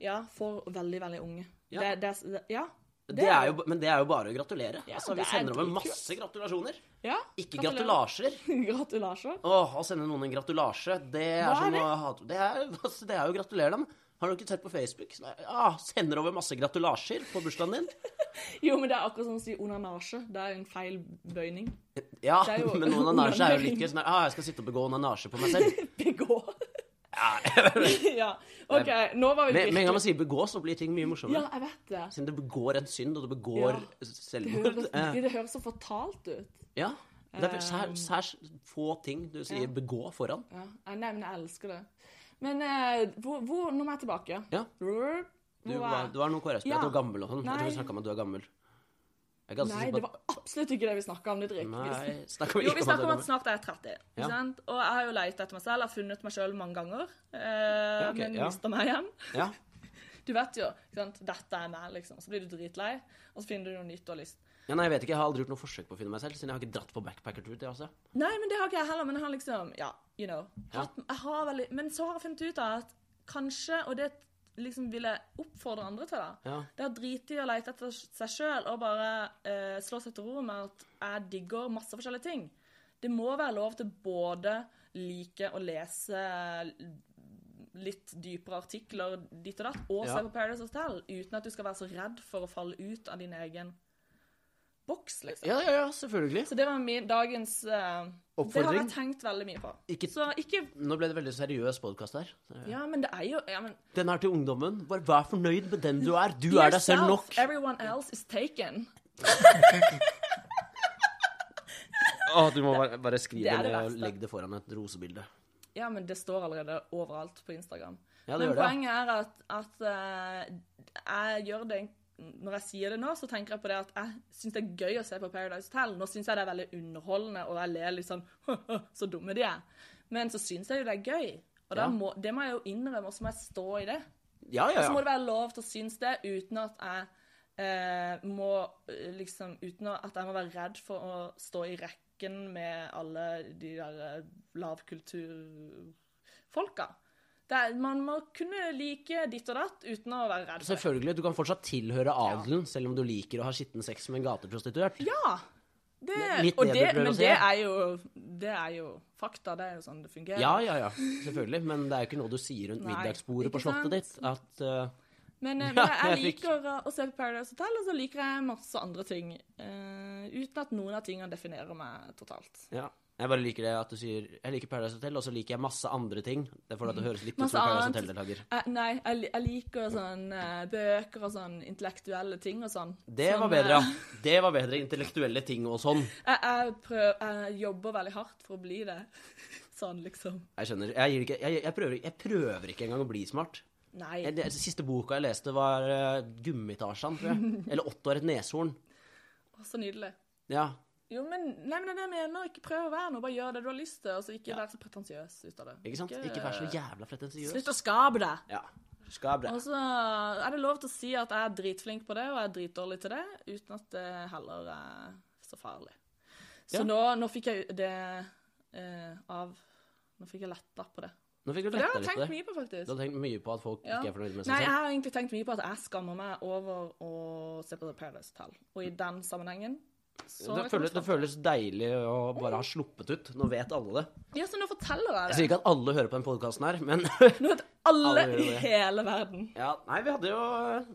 S2: Ja, for veldig, veldig unge.
S1: Ja.
S2: Det, det, det, ja. Det
S1: Det
S2: er
S1: er jo, men det er jo bare å gratulere.
S2: Ja,
S1: altså, vi
S2: det er
S1: sender over
S2: dritkult.
S1: masse gratulasjoner.
S2: ja.
S1: Ikke gratulasjer.
S2: Gratulasjer.
S1: Åh, å sende noen en gratulasje, det er,
S2: Hva er
S1: som
S2: det?
S1: å hate det, er, altså, det er jo å gratulere dem. Har du ikke sett på Facebook? Nei, Ja, sender over masse gratulasjer på bursdagen din.
S2: Jo, men det er akkurat som å si onanasje. Det er en feil bøyning.
S1: Ja,
S2: Det er jo-
S1: men noen anasje er jo litt gøy. Sånn der, ah, jeg skal sitte og begå anasje på meg selv.
S2: Begå. ja. OK, nå var vi
S1: Med, med en gang man
S2: virkelig
S1: sier begå, så blir ting mye
S2: Ja,
S1: morsommere.
S2: jeg vet det.
S1: Siden du begår en synd, og du begår
S2: Ja. Det Eh.
S1: selvmord.
S2: høres,
S1: Eh,
S2: det høres så fortalt ut.
S1: Ja. Det er særs sær, få ting du sier 'begå' foran.
S2: Ja, jeg nevner jeg elsker det. Men eh, hvor, hvor, nå må jeg tilbake.
S1: Ja.
S2: Hvor,
S1: Du
S2: hvor
S1: var,
S2: er-
S1: du var noe KrS-prat,
S2: Ja.
S1: du er gammel og sånn. Jeg tror vi
S2: Nei.
S1: snakka om at du er gammel. Jeg er ganske
S2: Nei,
S1: sikker
S2: det
S1: på
S2: var absolutt ikke det vi snakka om. Didrik.
S1: at-
S2: Vi-
S1: Nei, snakka vi
S2: Jo,
S1: ikke
S2: vi
S1: om at du er
S2: snakker om at
S1: gammel?
S2: snart er jeg 30.
S1: Ja.
S2: Ikke sant? Og jeg har jo leit etter meg selv, jeg har funnet meg selv mange ganger. Eh,
S1: ok,
S2: men
S1: ja.
S2: mister meg igjen.
S1: Ja.
S2: Du vet jo, ikke sant? dette er meg, liksom. Så blir du dritlei, og så finner du noe nytt og lyst.
S1: ja, nei, jeg vet ikke. Jeg har aldri gjort noe forsøk på å finne meg selv, siden jeg har ikke dratt på backpackertur til Asia.
S2: Nei, men det har ikke jeg heller, men jeg har liksom, ja, you know. Hatt, jeg har veldig, men så har jeg funnet ut av at kanskje, og det liksom vil jeg oppfordre andre til da,
S1: Ja.
S2: det er dritig å lete etter seg selv og bare eh, slå seg til ro med at jeg digger masse forskjellige ting. Det må være lov til både like å lese litt dypere artikler ditt og datt, og
S1: Ja.
S2: se på Paradise Hotel, uten at du skal være så redd for å falle ut av din egen boks, liksom.
S1: Ja, ja, ja, selvfølgelig.
S2: Så det var min dagens eh, Det har
S1: Oppfordring?
S2: jeg tenkt veldig mye på.
S1: Ikke-
S2: Så ikke
S1: Nå ble det veldig seriøs podkast her.
S2: Ja, men det er jo ja, men,
S1: Den er til ungdommen. Bare vær fornøyd med den du er. Du
S2: Be
S1: er deg selv
S2: yourself,
S1: nok.
S2: Everyone else is taken.
S1: Å, du må bare, bare skrive
S2: Det er
S1: det,
S2: det
S1: ned og
S2: verste.
S1: legge det foran et rosebilde.
S2: Ja, men det står allerede overalt på Instagram.
S1: Ja, det
S2: men
S1: gjør det, ja.
S2: poenget er at, at eh, jeg gjør det Når jeg sier det nå, så tenker jeg på det at jeg syns det er gøy å se på Paradise Hotel. Nå syns jeg det er veldig underholdende, og jeg ler litt sånn Så dumme de er. Men så syns jeg jo det er gøy. Og da
S1: Ja.
S2: må, det må jeg jo innrømme, og så må jeg stå i det.
S1: Ja, ja,
S2: Så må
S1: ja.
S2: det være lov til å synes det uten at jeg eh, må eh, liksom Uten å- at jeg må være redd for å stå i rekken med alle de der eh, lavkulturfolka. Det er, man må kunne like ditt og datt uten å være redd for det.
S1: Selvfølgelig. Du kan fortsatt tilhøre adelen, selv om du liker å ha skitten sex med en gateprostituert.
S2: Ja! Det,
S1: Litt
S2: og det,
S1: nedbør å
S2: men
S1: se.
S2: det er, jo, det er jo fakta. Det er jo sånn det fungerer.
S1: Ja, ja, ja. Selvfølgelig. Men det er jo ikke noe du sier rundt
S2: Nei,
S1: middagsbordet
S2: ikke
S1: på slottet ditt. At eh,
S2: Men, eh,
S1: Ja,
S2: men jeg
S1: jeg fikk-
S2: liker å se på Paradise Hotel, og så liker jeg masse andre ting. eh, uten at noen av tingene definerer meg totalt.
S1: Ja. Jeg bare liker det at du sier Jeg liker Paradise Hotel, og så liker jeg masse andre ting. Det får deg til å høres litt ut
S2: Masse
S1: som en Paradise
S2: annet.
S1: Hotel-deltaker.
S2: Eh, nei, jeg, li- jeg liker sånn eh, bøker og sånn intellektuelle ting og sånn.
S1: Det
S2: Sånn,
S1: var bedre, ja.
S2: eh,
S1: Det var bedre intellektuelle ting og sånn.
S2: Jeg, jeg, prøv, jeg jobber veldig hardt for å bli det. Sånn, liksom.
S1: Jeg skjønner. Jeg, gir ikke, jeg, jeg, prøver, jeg prøver ikke engang å bli smart.
S2: Nei.
S1: Jeg, det, siste boka jeg leste, var uh, 'Gummitarsan', tror jeg. Eller 'Otto er et neshorn'.
S2: Å, Så nydelig.
S1: Ja.
S2: Jo, men nei, men det er det jeg mener. Ikke prøv å være noe. Bare gjør det du har lyst til. Og så ikke vær så pretensiøs ut av det.
S1: Ikke sant? Ikke vær så jævla pretensiøs.
S2: Slutt å skape det.
S1: Ja. Skal bra.
S2: Og så er det lov til å si at jeg er dritflink på det, og jeg er dritdårlig til det, uten at det heller er så farlig. Så
S1: Ja.
S2: nå, nå fikk jeg det eh, av Nå fikk jeg letta på det.
S1: Nå fikk du
S2: For det har
S1: letta litt på
S2: jeg tenkt
S1: det.
S2: mye på, faktisk.
S1: Du har tenkt mye på at folk
S2: Ja.
S1: ikke er fornøyd med
S2: Nei,
S1: seg
S2: jeg
S1: selv?
S2: har egentlig tenkt mye på at jeg skammer meg over å se på The Paradise Hotel. Og i den sammenhengen så
S1: Det
S2: har
S1: føles, det
S2: jeg kommet frem til-
S1: føles deilig å bare ha sluppet ut. Nå vet alle det.
S2: Ja, så nå forteller
S1: Jeg
S2: jeg
S1: sier
S2: det.
S1: ikke at alle hører på den podkasten her, men
S2: Nå vet alle
S1: Alle gjør
S2: i
S1: det.
S2: hele verden.
S1: ja, Nei, vi hadde jo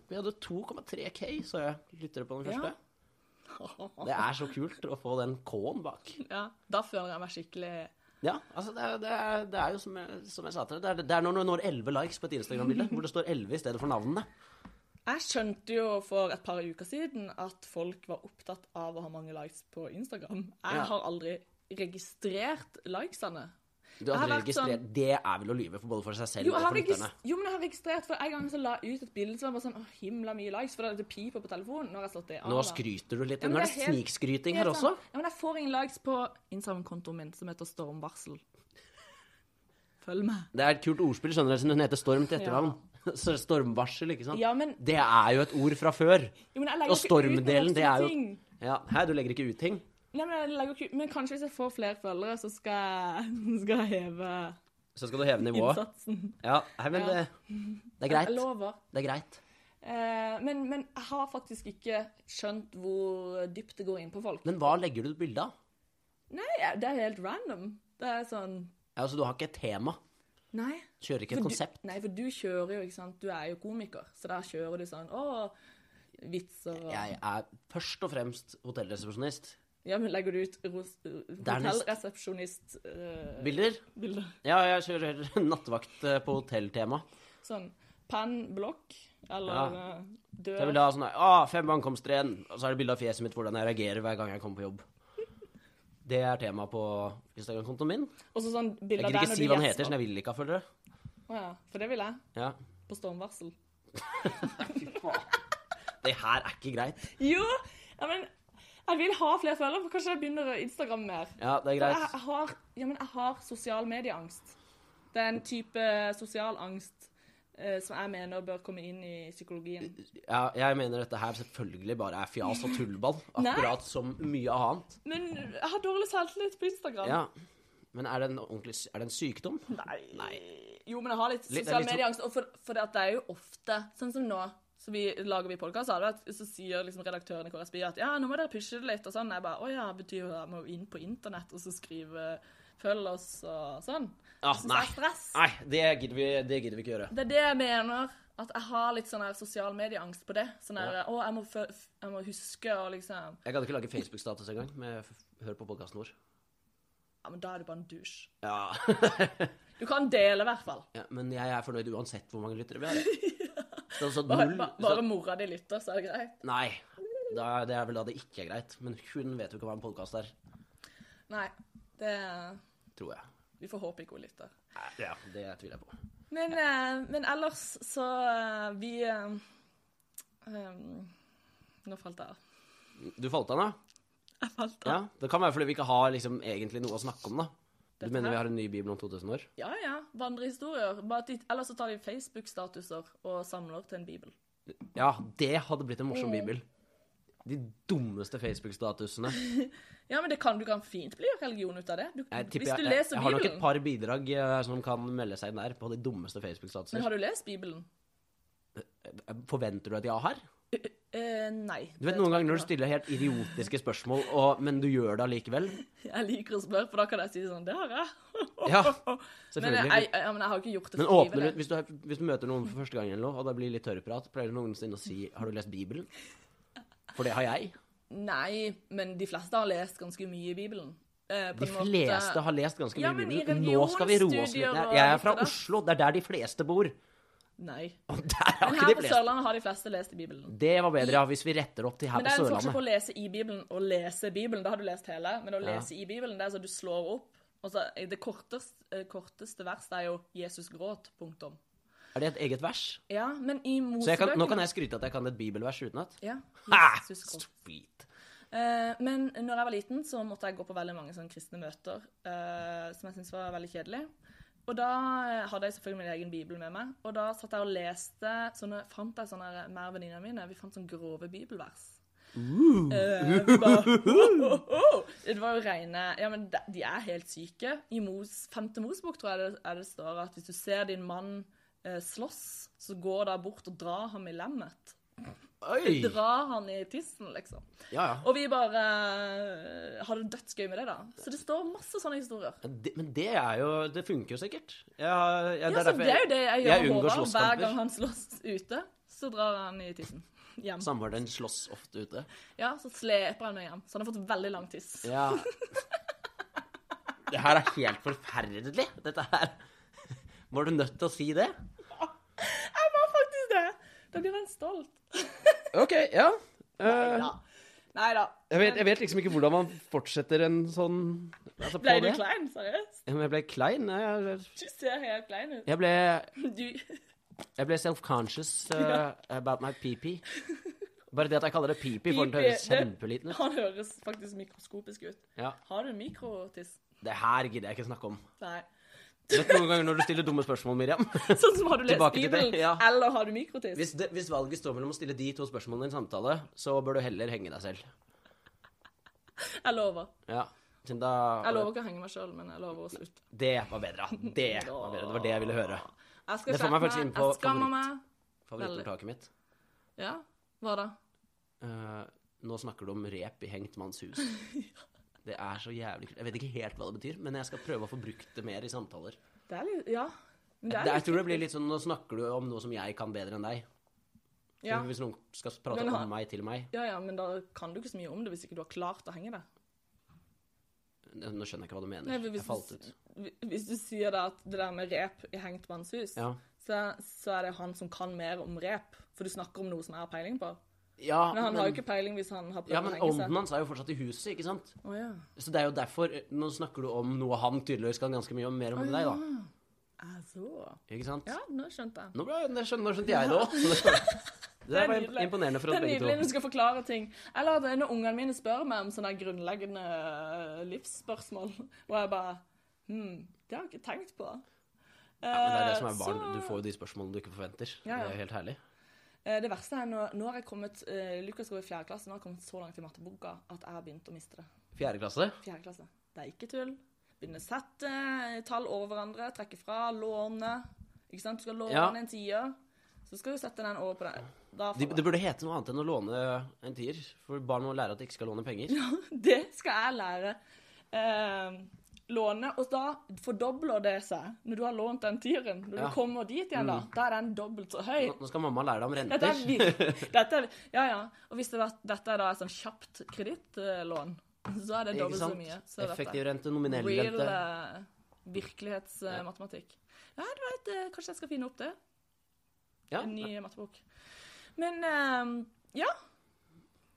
S1: Vi hadde 2,3K, så jeg lyttere på den
S2: Ja.
S1: første. Det er så kult å få den K-en bak.
S2: Ja, da føler jeg meg skikkelig
S1: Ja, altså det er, det er, det er jo som jeg, som jeg sa til deg, det er, det er når du når 11 likes på et Instagram-bilde, hvor det står 11 i stedet for navnene.
S2: Jeg skjønte jo for et par uker siden at folk var opptatt av å ha mange likes på Instagram. Jeg
S1: Ja.
S2: har aldri registrert likesene.
S1: Du har
S2: Jeg har
S1: aldri
S2: vært sånn-
S1: registrert Det er vel å lyve for både for seg selv
S2: Jo, jeg
S1: og
S2: har
S1: for lytterne.
S2: regist- jo, men jeg har registrert, for en gang så la jeg ut et bilde som var bare sånn Åh, himla mye likes, for da er det piper på telefonen. Nå har jeg slått det av.
S1: Nå
S2: da.
S1: skryter du litt.
S2: Ja,
S1: Nå
S2: men
S1: er
S2: det er
S1: det
S2: helt-
S1: snikskryting
S2: Helt
S1: her også.
S2: sant. Ja, men jeg får ingen likes på Instagram-kontoen min, som heter Stormvarsel. Følg med.
S1: Det er et kult ordspill, skjønner du, siden hun heter Storm til etternavn. Så stormvarsel, ikke sant?
S2: Ja, men-
S1: Det er jo et ord fra før.
S2: Jo, men jeg legger
S1: Og
S2: ikke ut noen
S1: stormdelen, det er jo
S2: ting.
S1: ja, Hæ, du legger ikke ut ting?
S2: Nei, men, jeg legger ikke... ut- men kanskje hvis jeg får flere følgere, så skal jeg, skal jeg heve
S1: Så skal du heve nivået?
S2: innsatsen.
S1: Ja, nei, men
S2: Ja.
S1: det, det er greit.
S2: Jeg lover.
S1: Det er greit.
S2: Eh, men, men jeg har faktisk ikke skjønt hvor dypt det går inn på folk.
S1: Men hva legger du ut bilde av?
S2: Nei, det er helt random. Det er sånn
S1: Ja, altså, du har ikke et tema.
S2: Nei.
S1: Kjører ikke et
S2: For du-
S1: konsept.
S2: Nei, for du kjører jo, ikke sant. Du er jo komiker, så da kjører du sånn Å, vitser og
S1: Jeg er først og fremst hotellresepsjonist.
S2: Ja, men legger du ut ros-
S1: Dernest.
S2: hotellresepsjonist-bilder?
S1: Bilder? Ja, jeg kjører nattevakt eh, på hotelltema.
S2: sånn penn, blokk eller
S1: Ja.
S2: eh,
S1: Så jeg
S2: dør
S1: vil ha sånn her ah, Fem ankomster igjen. Og så er det bilde av fjeset mitt, hvordan jeg reagerer hver gang jeg kommer på jobb. Det er tema på Instagram-kontoen min.
S2: Og så sånn
S1: Jeg
S2: bilder
S1: gidder
S2: der
S1: ikke
S2: når
S1: si
S2: du
S1: hva den heter,
S2: gjesper.
S1: sånn jeg vil ikke ha følgere.
S2: Å ja, for det vil jeg.
S1: Ja.
S2: På stormvarsel.
S1: Det her er ikke greit.
S2: Jo, ja, men jeg vil ha flere følgere, for kanskje jeg begynner å Instagram mer.
S1: Ja, det er
S2: For jeg,
S1: greit.
S2: jeg, har, ja, men jeg har sosial medieangst. Det er en type sosial angst eh, som jeg mener bør komme inn i psykologien.
S1: Ja, jeg mener dette her selvfølgelig bare er fjas og tullball. Akkurat som mye annet.
S2: Men jeg har dårlig selvtillit på Instagram.
S1: Ja. Men er det en ordentlig sy- Er det en sykdom?
S2: Nei. Jo, men jeg har litt
S1: Litt- det er
S2: sosial
S1: litt sånn-
S2: medieangst. Og for, for det, at det er jo ofte, sånn som nå, så vi lager vi podkast, så sier liksom redaktøren i KRSB at ja, nå må dere pushe det litt, og sånn. Jeg bare å ja, betyr jo at jeg må inn på internett og så skrive følg oss og sånn.
S1: Ah,
S2: Jeg synes
S1: nei.
S2: det er stress.
S1: Nei, det gidder vi, det gidder vi ikke gjøre.
S2: Det er det jeg mener. At jeg har litt sånn her sosial medieangst på det. Sånn her,
S1: Ja.
S2: Å, jeg må, fø- f- jeg må huske å liksom
S1: Jeg gadd ikke lage Facebook-status engang med f- Hør på podkasten vår.
S2: Ja, men da er du bare en dusj.
S1: Ja.
S2: Du kan dele, i hvert fall.
S1: ja, Men jeg er fornøyd uansett hvor mange lyttere vi har. jeg. Så, så
S2: Bare,
S1: null
S2: ba-
S1: så,
S2: bare mora di lytter, så er det greit.
S1: Nei. Da, det er vel da det ikke er greit. Men hun vet jo ikke hva en podkast er,
S2: Nei, det
S1: tror jeg.
S2: Vi får håpe ikke hun lytter.
S1: Nei, Ja, Det tviler jeg på.
S2: Men, eh, men ellers så eh, Vi eh, em, Nå falt jeg av.
S1: Du falt av, da?
S2: Jeg falt av.
S1: Ja, Det kan være fordi vi ikke har liksom, egentlig noe å snakke om, da. Du
S2: Dette
S1: mener
S2: her?
S1: vi har en ny bibel om 2000 år?
S2: Ja ja. Vandrehistorier. Bare at de, ellers så tar de Facebook-statuser og samler til en bibel.
S1: Ja, det hadde blitt en
S2: Mm.
S1: morsom bibel. De dummeste Facebook-statusene.
S2: Ja, men det kan, du kan fint bli religion ut av det. Du,
S1: Jeg tipper
S2: hvis du
S1: jeg, jeg,
S2: leser
S1: jeg har nok et
S2: Bibelen.
S1: par bidrag eh, som kan melde seg inn der, på de dummeste
S2: Men
S1: Facebook-statuser.
S2: har du lest Bibelen?
S1: Forventer du at jeg har?
S2: Eh, Eh, nei.
S1: Du vet noen
S2: det tror jeg
S1: ganger når du
S2: ikke.
S1: stiller helt idiotiske spørsmål, og, men du gjør det allikevel?
S2: Jeg liker å spørre, for da kan jeg si sånn Det har jeg.
S1: Ja,
S2: Men
S1: selvfølgelig.
S2: jeg, jeg, ja, men jeg har jo ikke gjort det
S1: Men
S2: for
S1: åpner
S2: livet.
S1: du, hvis, du er, hvis du møter noen for første gang, eller noe, og det blir litt tørrprat, pleier du noensinne å si 'Har du lest Bibelen?' For det har jeg.
S2: Nei, men de fleste har lest ganske mye i Bibelen. Eh, på
S1: De
S2: en måte-
S1: fleste har lest ganske mye
S2: Ja, men i
S1: Bibelen. Nå skal vi roe oss litt
S2: religionsstudier
S1: ned.
S2: og
S1: Jeg er
S2: litt
S1: fra
S2: av det.
S1: Oslo, det er der de fleste bor.
S2: Nei.
S1: Og der har
S2: Men
S1: ikke de
S2: her på
S1: fleste.
S2: Sørlandet har de fleste lest i Bibelen.
S1: Det var bedre ja, hvis vi retter opp til her
S2: Men
S1: på
S2: det er en forskjell på
S1: Sørlandet.
S2: å lese i Bibelen og lese Bibelen. Da har du lest hele, men å lese i Bibelen, det er så du slår opp. Og så eh, Det korteste, eh, korteste verset er jo 'Jesus gråt'. Punktum.
S1: Er det et eget vers?
S2: Ja, men i
S1: Så jeg kan,
S2: Mosebøkene
S1: nå kan jeg skryte at jeg kan et bibelvers utenat.
S2: Ja,
S1: Ha!
S2: Jesus gråt.
S1: Sweet.
S2: Eh, men når jeg var liten, så måtte jeg gå på veldig mange sånne kristne møter, eh, som jeg syntes var veldig kjedelig. Og da eh, hadde jeg selvfølgelig min egen bibel med meg, og da satt jeg og leste sånne, fant jeg sånne her- eh, mer venninner mine, vi fant sånne grove bibelvers. Eh, vi bare, Det var jo reine Ja, men de- de er helt syke. I Mos, femte Mosebok tror jeg det, er det står at hvis du ser din mann eh, slåss, så går da bort og drar ham i lemmet.
S1: Oi!
S2: Drar han i tissen, liksom.
S1: Ja, ja.
S2: Og vi bare eh, hadde dødsgøy med det, da. Så det står masse sånne historier.
S1: Det, men det er jo Det funker jo sikkert. Jeg, har- jeg,
S2: Ja, så det er jo det jeg gjør
S1: jeg
S2: med
S1: unngår
S2: Håvard. Hver
S1: slåsskamper.
S2: gang han slåss ute, så drar han i tissen. Hjem.
S1: Samboeren din slåss ofte ute.
S2: Ja, så sleper han meg hjem. Så han har fått veldig lang tiss.
S1: Ja. Det her er helt forferdelig, dette her. Var du nødt til å si det?
S2: Jeg var faktisk det! Da blir han stolt.
S1: OK, ja. Eh,
S2: Ja. Nei da.
S1: jeg, vet, liksom ikke hvordan man fortsetter en sånn altså,
S2: Ble du klein? Seriøst?
S1: Jeg ble klein. Jeg,
S2: Du ser helt klein ut.
S1: jeg ble,
S2: Du,
S1: jeg ble self-conscious uh, about my pee-pee. Bare det at jeg kaller det pee-pee, får den til å høres
S2: Pee-pee, det-
S1: kjempeliten ut.
S2: han høres faktisk mikroskopisk ut.
S1: Ja.
S2: Har du mikrotiss?
S1: Det her gidder jeg ikke snakke om.
S2: Nei.
S1: Du vet noen ganger når du stiller dumme spørsmål, Miriam.
S2: Sånn som har du lest
S1: Tilbake til det,
S2: Bibelen,
S1: ja.
S2: eller har du mikrotiss?
S1: Hvis, det, hvis valget står mellom å stille de to spørsmålene i en samtale, så bør du heller henge deg selv.
S2: Jeg lover.
S1: Ja. Siden
S2: Jeg
S1: da
S2: lover ikke å henge meg sjøl, men jeg lover å slutte.
S1: Det var bedre. Det var bedre. Det var det jeg ville høre.
S2: Jeg skal
S1: Det får meg
S2: skjerpe
S1: faktisk inn
S2: meg.
S1: på
S2: Jeg skammer
S1: favoritt.
S2: meg.
S1: Favorittordtaket mitt.
S2: Ja, hva da?
S1: Eh, nå snakker du om rep i hengt manns hus. Det er så jævlig kult. Jeg vet ikke helt hva det betyr, men jeg skal prøve å få brukt det mer i samtaler.
S2: Det er litt Ja.
S1: Det,
S2: Men det er
S1: jeg
S2: litt-
S1: tror det blir litt sånn Nå snakker du om noe som jeg kan bedre enn deg.
S2: ja.
S1: Hvis noen skal prate
S2: Men har-
S1: om meg til meg
S2: ja, ja, men da kan du ikke så mye om det hvis ikke du har klart å henge deg.
S1: Nå skjønner jeg ikke hva du mener.
S2: Nei, men hvis,
S1: jeg falt ut.
S2: hvis- hvis du sier da at det der med rep i hengt manns hus,
S1: Ja.
S2: så, så er det han som kan mer om rep, for du snakker om noe som jeg har peiling på.
S1: Ja,
S2: Men han har jo
S1: men,
S2: ikke peiling hvis han har prøvd
S1: ja,
S2: å
S1: men
S2: henge seg.
S1: ånden hans er jo fortsatt i huset, ikke sant?
S2: Å ja.
S1: Så det er jo derfor eh, Nå snakker du om noe han tydeligvis kan ganske mye om, mer om enn deg, da.
S2: Altså.
S1: Ikke sant?
S2: Ah, Ja, nå skjønte jeg.
S1: Nå, ble, nå skjønte, nå skjønte jeg det òg. Det var
S2: nydelig.
S1: imponerende for oss
S2: Det er nydelig
S1: begge
S2: når
S1: to.
S2: du skal forklare ting. Eller at når ungene mine spør meg om sånne grunnleggende eh, livsspørsmål, og jeg bare Hm, det har jeg ikke tenkt på.
S1: Ja, men det er det som er
S2: Eh,
S1: barn.
S2: så-
S1: Du får jo de spørsmålene du ikke forventer.
S2: Ja, ja.
S1: Det er jo helt herlig.
S2: Eh, Det verste er nå, nå har jeg kommet eh, Lukas går i fjerde klasse, nå har jeg kommet så langt i matteboka at jeg har begynt å miste det.
S1: Fjerde klasse.
S2: Fjerde klasse. Det er ikke tull. Begynne å sette eh, tall over hverandre, trekke fra, låne. Ikke sant? Du skal låne
S1: Ja.
S2: en tier, så skal du sette den over på deg. Da
S1: De,
S2: faller
S1: det burde hete noe annet enn å låne en tier. For barn må lære at de ikke skal låne penger.
S2: Det skal jeg lære. Eh, låne, og da fordobler det seg når du har lånt den tieren. Når
S1: Ja. Mm.
S2: du kommer dit igjen, da, da er den dobbelt så høy.
S1: Nå nå skal mamma lære deg om
S2: Dette Eh, er,
S1: renter.
S2: vir- dette er, ja, ja. Og hvis det er, dette er da et sånn kjapt kredittlån, så er det
S1: Ikke
S2: dobbelt så
S1: sant?
S2: mye. Så dette er
S1: Effektiv rente, nominell
S2: Real
S1: rente.
S2: eh, virkelighetsmatematikk. Ja, du vet, eh, kanskje jeg skal finne opp det.
S1: Ja,
S2: En ny mattebok. Men eh, ja.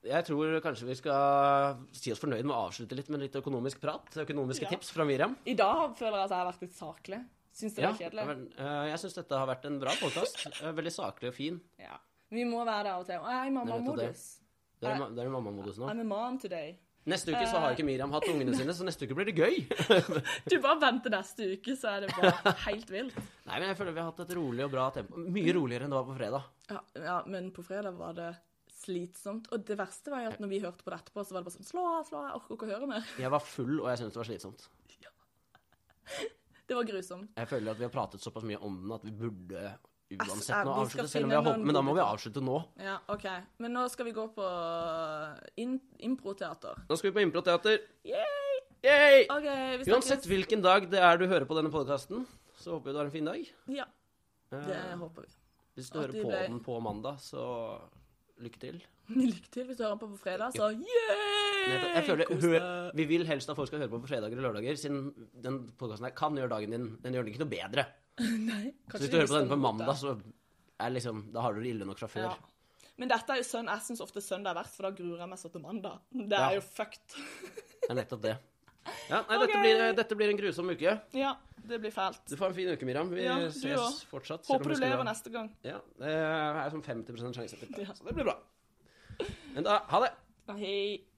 S1: jeg tror kanskje vi skal si oss fornøyd med å avslutte litt med litt økonomisk prat. Økonomiske
S2: Ja.
S1: tips fra Miriam.
S2: I dag føler jeg at jeg har vært litt saklig. Syns det
S1: Ja,
S2: var kjedelig.
S1: men, eh, jeg syns dette har vært en bra podkast. Veldig saklig og fin.
S2: Ja. Vi må være der av og til. Og jeg er i mammamodus.
S1: Det er, ma- det er i mammamodus nå.
S2: I'm a mom today.
S1: Neste uke så har ikke Miriam hatt ungene sine, så neste uke blir det gøy.
S2: Du bare venter neste uke, så er det bare helt vilt.
S1: Nei, men jeg føler vi har hatt et rolig og bra tempo. Mye roligere enn det var på fredag.
S2: Ja, ja, men på fredag var det slitsomt. Og det verste var jo at når vi hørte på det etterpå, så var det bare sånn Slå av, slå av, jeg orker ikke å høre mer.
S1: Jeg var full, og jeg syntes det var slitsomt.
S2: Det var grusomt.
S1: Jeg føler at vi har pratet såpass mye om den at vi burde uansett nå
S2: eh, vi skal
S1: avslutte, selv om vi
S2: finne
S1: har holdt
S2: noen
S1: Men da må vi
S2: gode-
S1: avslutte nå.
S2: Ja, OK. Men nå skal vi gå på in improteater.
S1: Nå skal vi på improteater.
S2: Yay!
S1: Yay!
S2: OK, vi snakkes.
S1: Uansett hvilken dag det er du hører på denne podkasten, så håper vi du har en fin dag.
S2: Ja, det
S1: Eh,
S2: håper vi.
S1: Hvis du
S2: at
S1: hører
S2: de
S1: på
S2: ble-
S1: den på mandag, så lykke til.
S2: Lykke til hvis du hører den på på fredag, så
S1: Men Jeg,
S2: yay!
S1: jeg føler,
S2: Kos
S1: hør,
S2: deg.
S1: Vi vil helst at folk skal høre på på fredager og lørdager, siden den podkasten her kan gjøre dagen din Den gjør den ikke noe bedre.
S2: Nei,
S1: Så
S2: kanskje
S1: hvis
S2: vi
S1: du hører på
S2: skal
S1: den på
S2: mot
S1: mandag,
S2: det.
S1: så er liksom, da har du det ille nok fra før.
S2: Ja. Men dette er jo sønn, jeg syns ofte søndag er verst, for da gruer jeg meg så til mandag. Det
S1: Ja.
S2: er jo fucked.
S1: Det er nettopp det. Ja, nei, dette,
S2: Ok.
S1: blir, dette blir en grusom uke.
S2: ja, det blir fælt.
S1: Du får ha en fin uke, Miriam. Vi
S2: Ja, du
S1: ses
S2: også.
S1: fortsatt. selv om vi
S2: Håper du
S1: skulle
S2: lever
S1: ha-
S2: neste gang.
S1: Ja, det er sånn 50 sjanse til det,
S2: Ja.
S1: så det blir bra. Men da, ha det!
S2: Hei.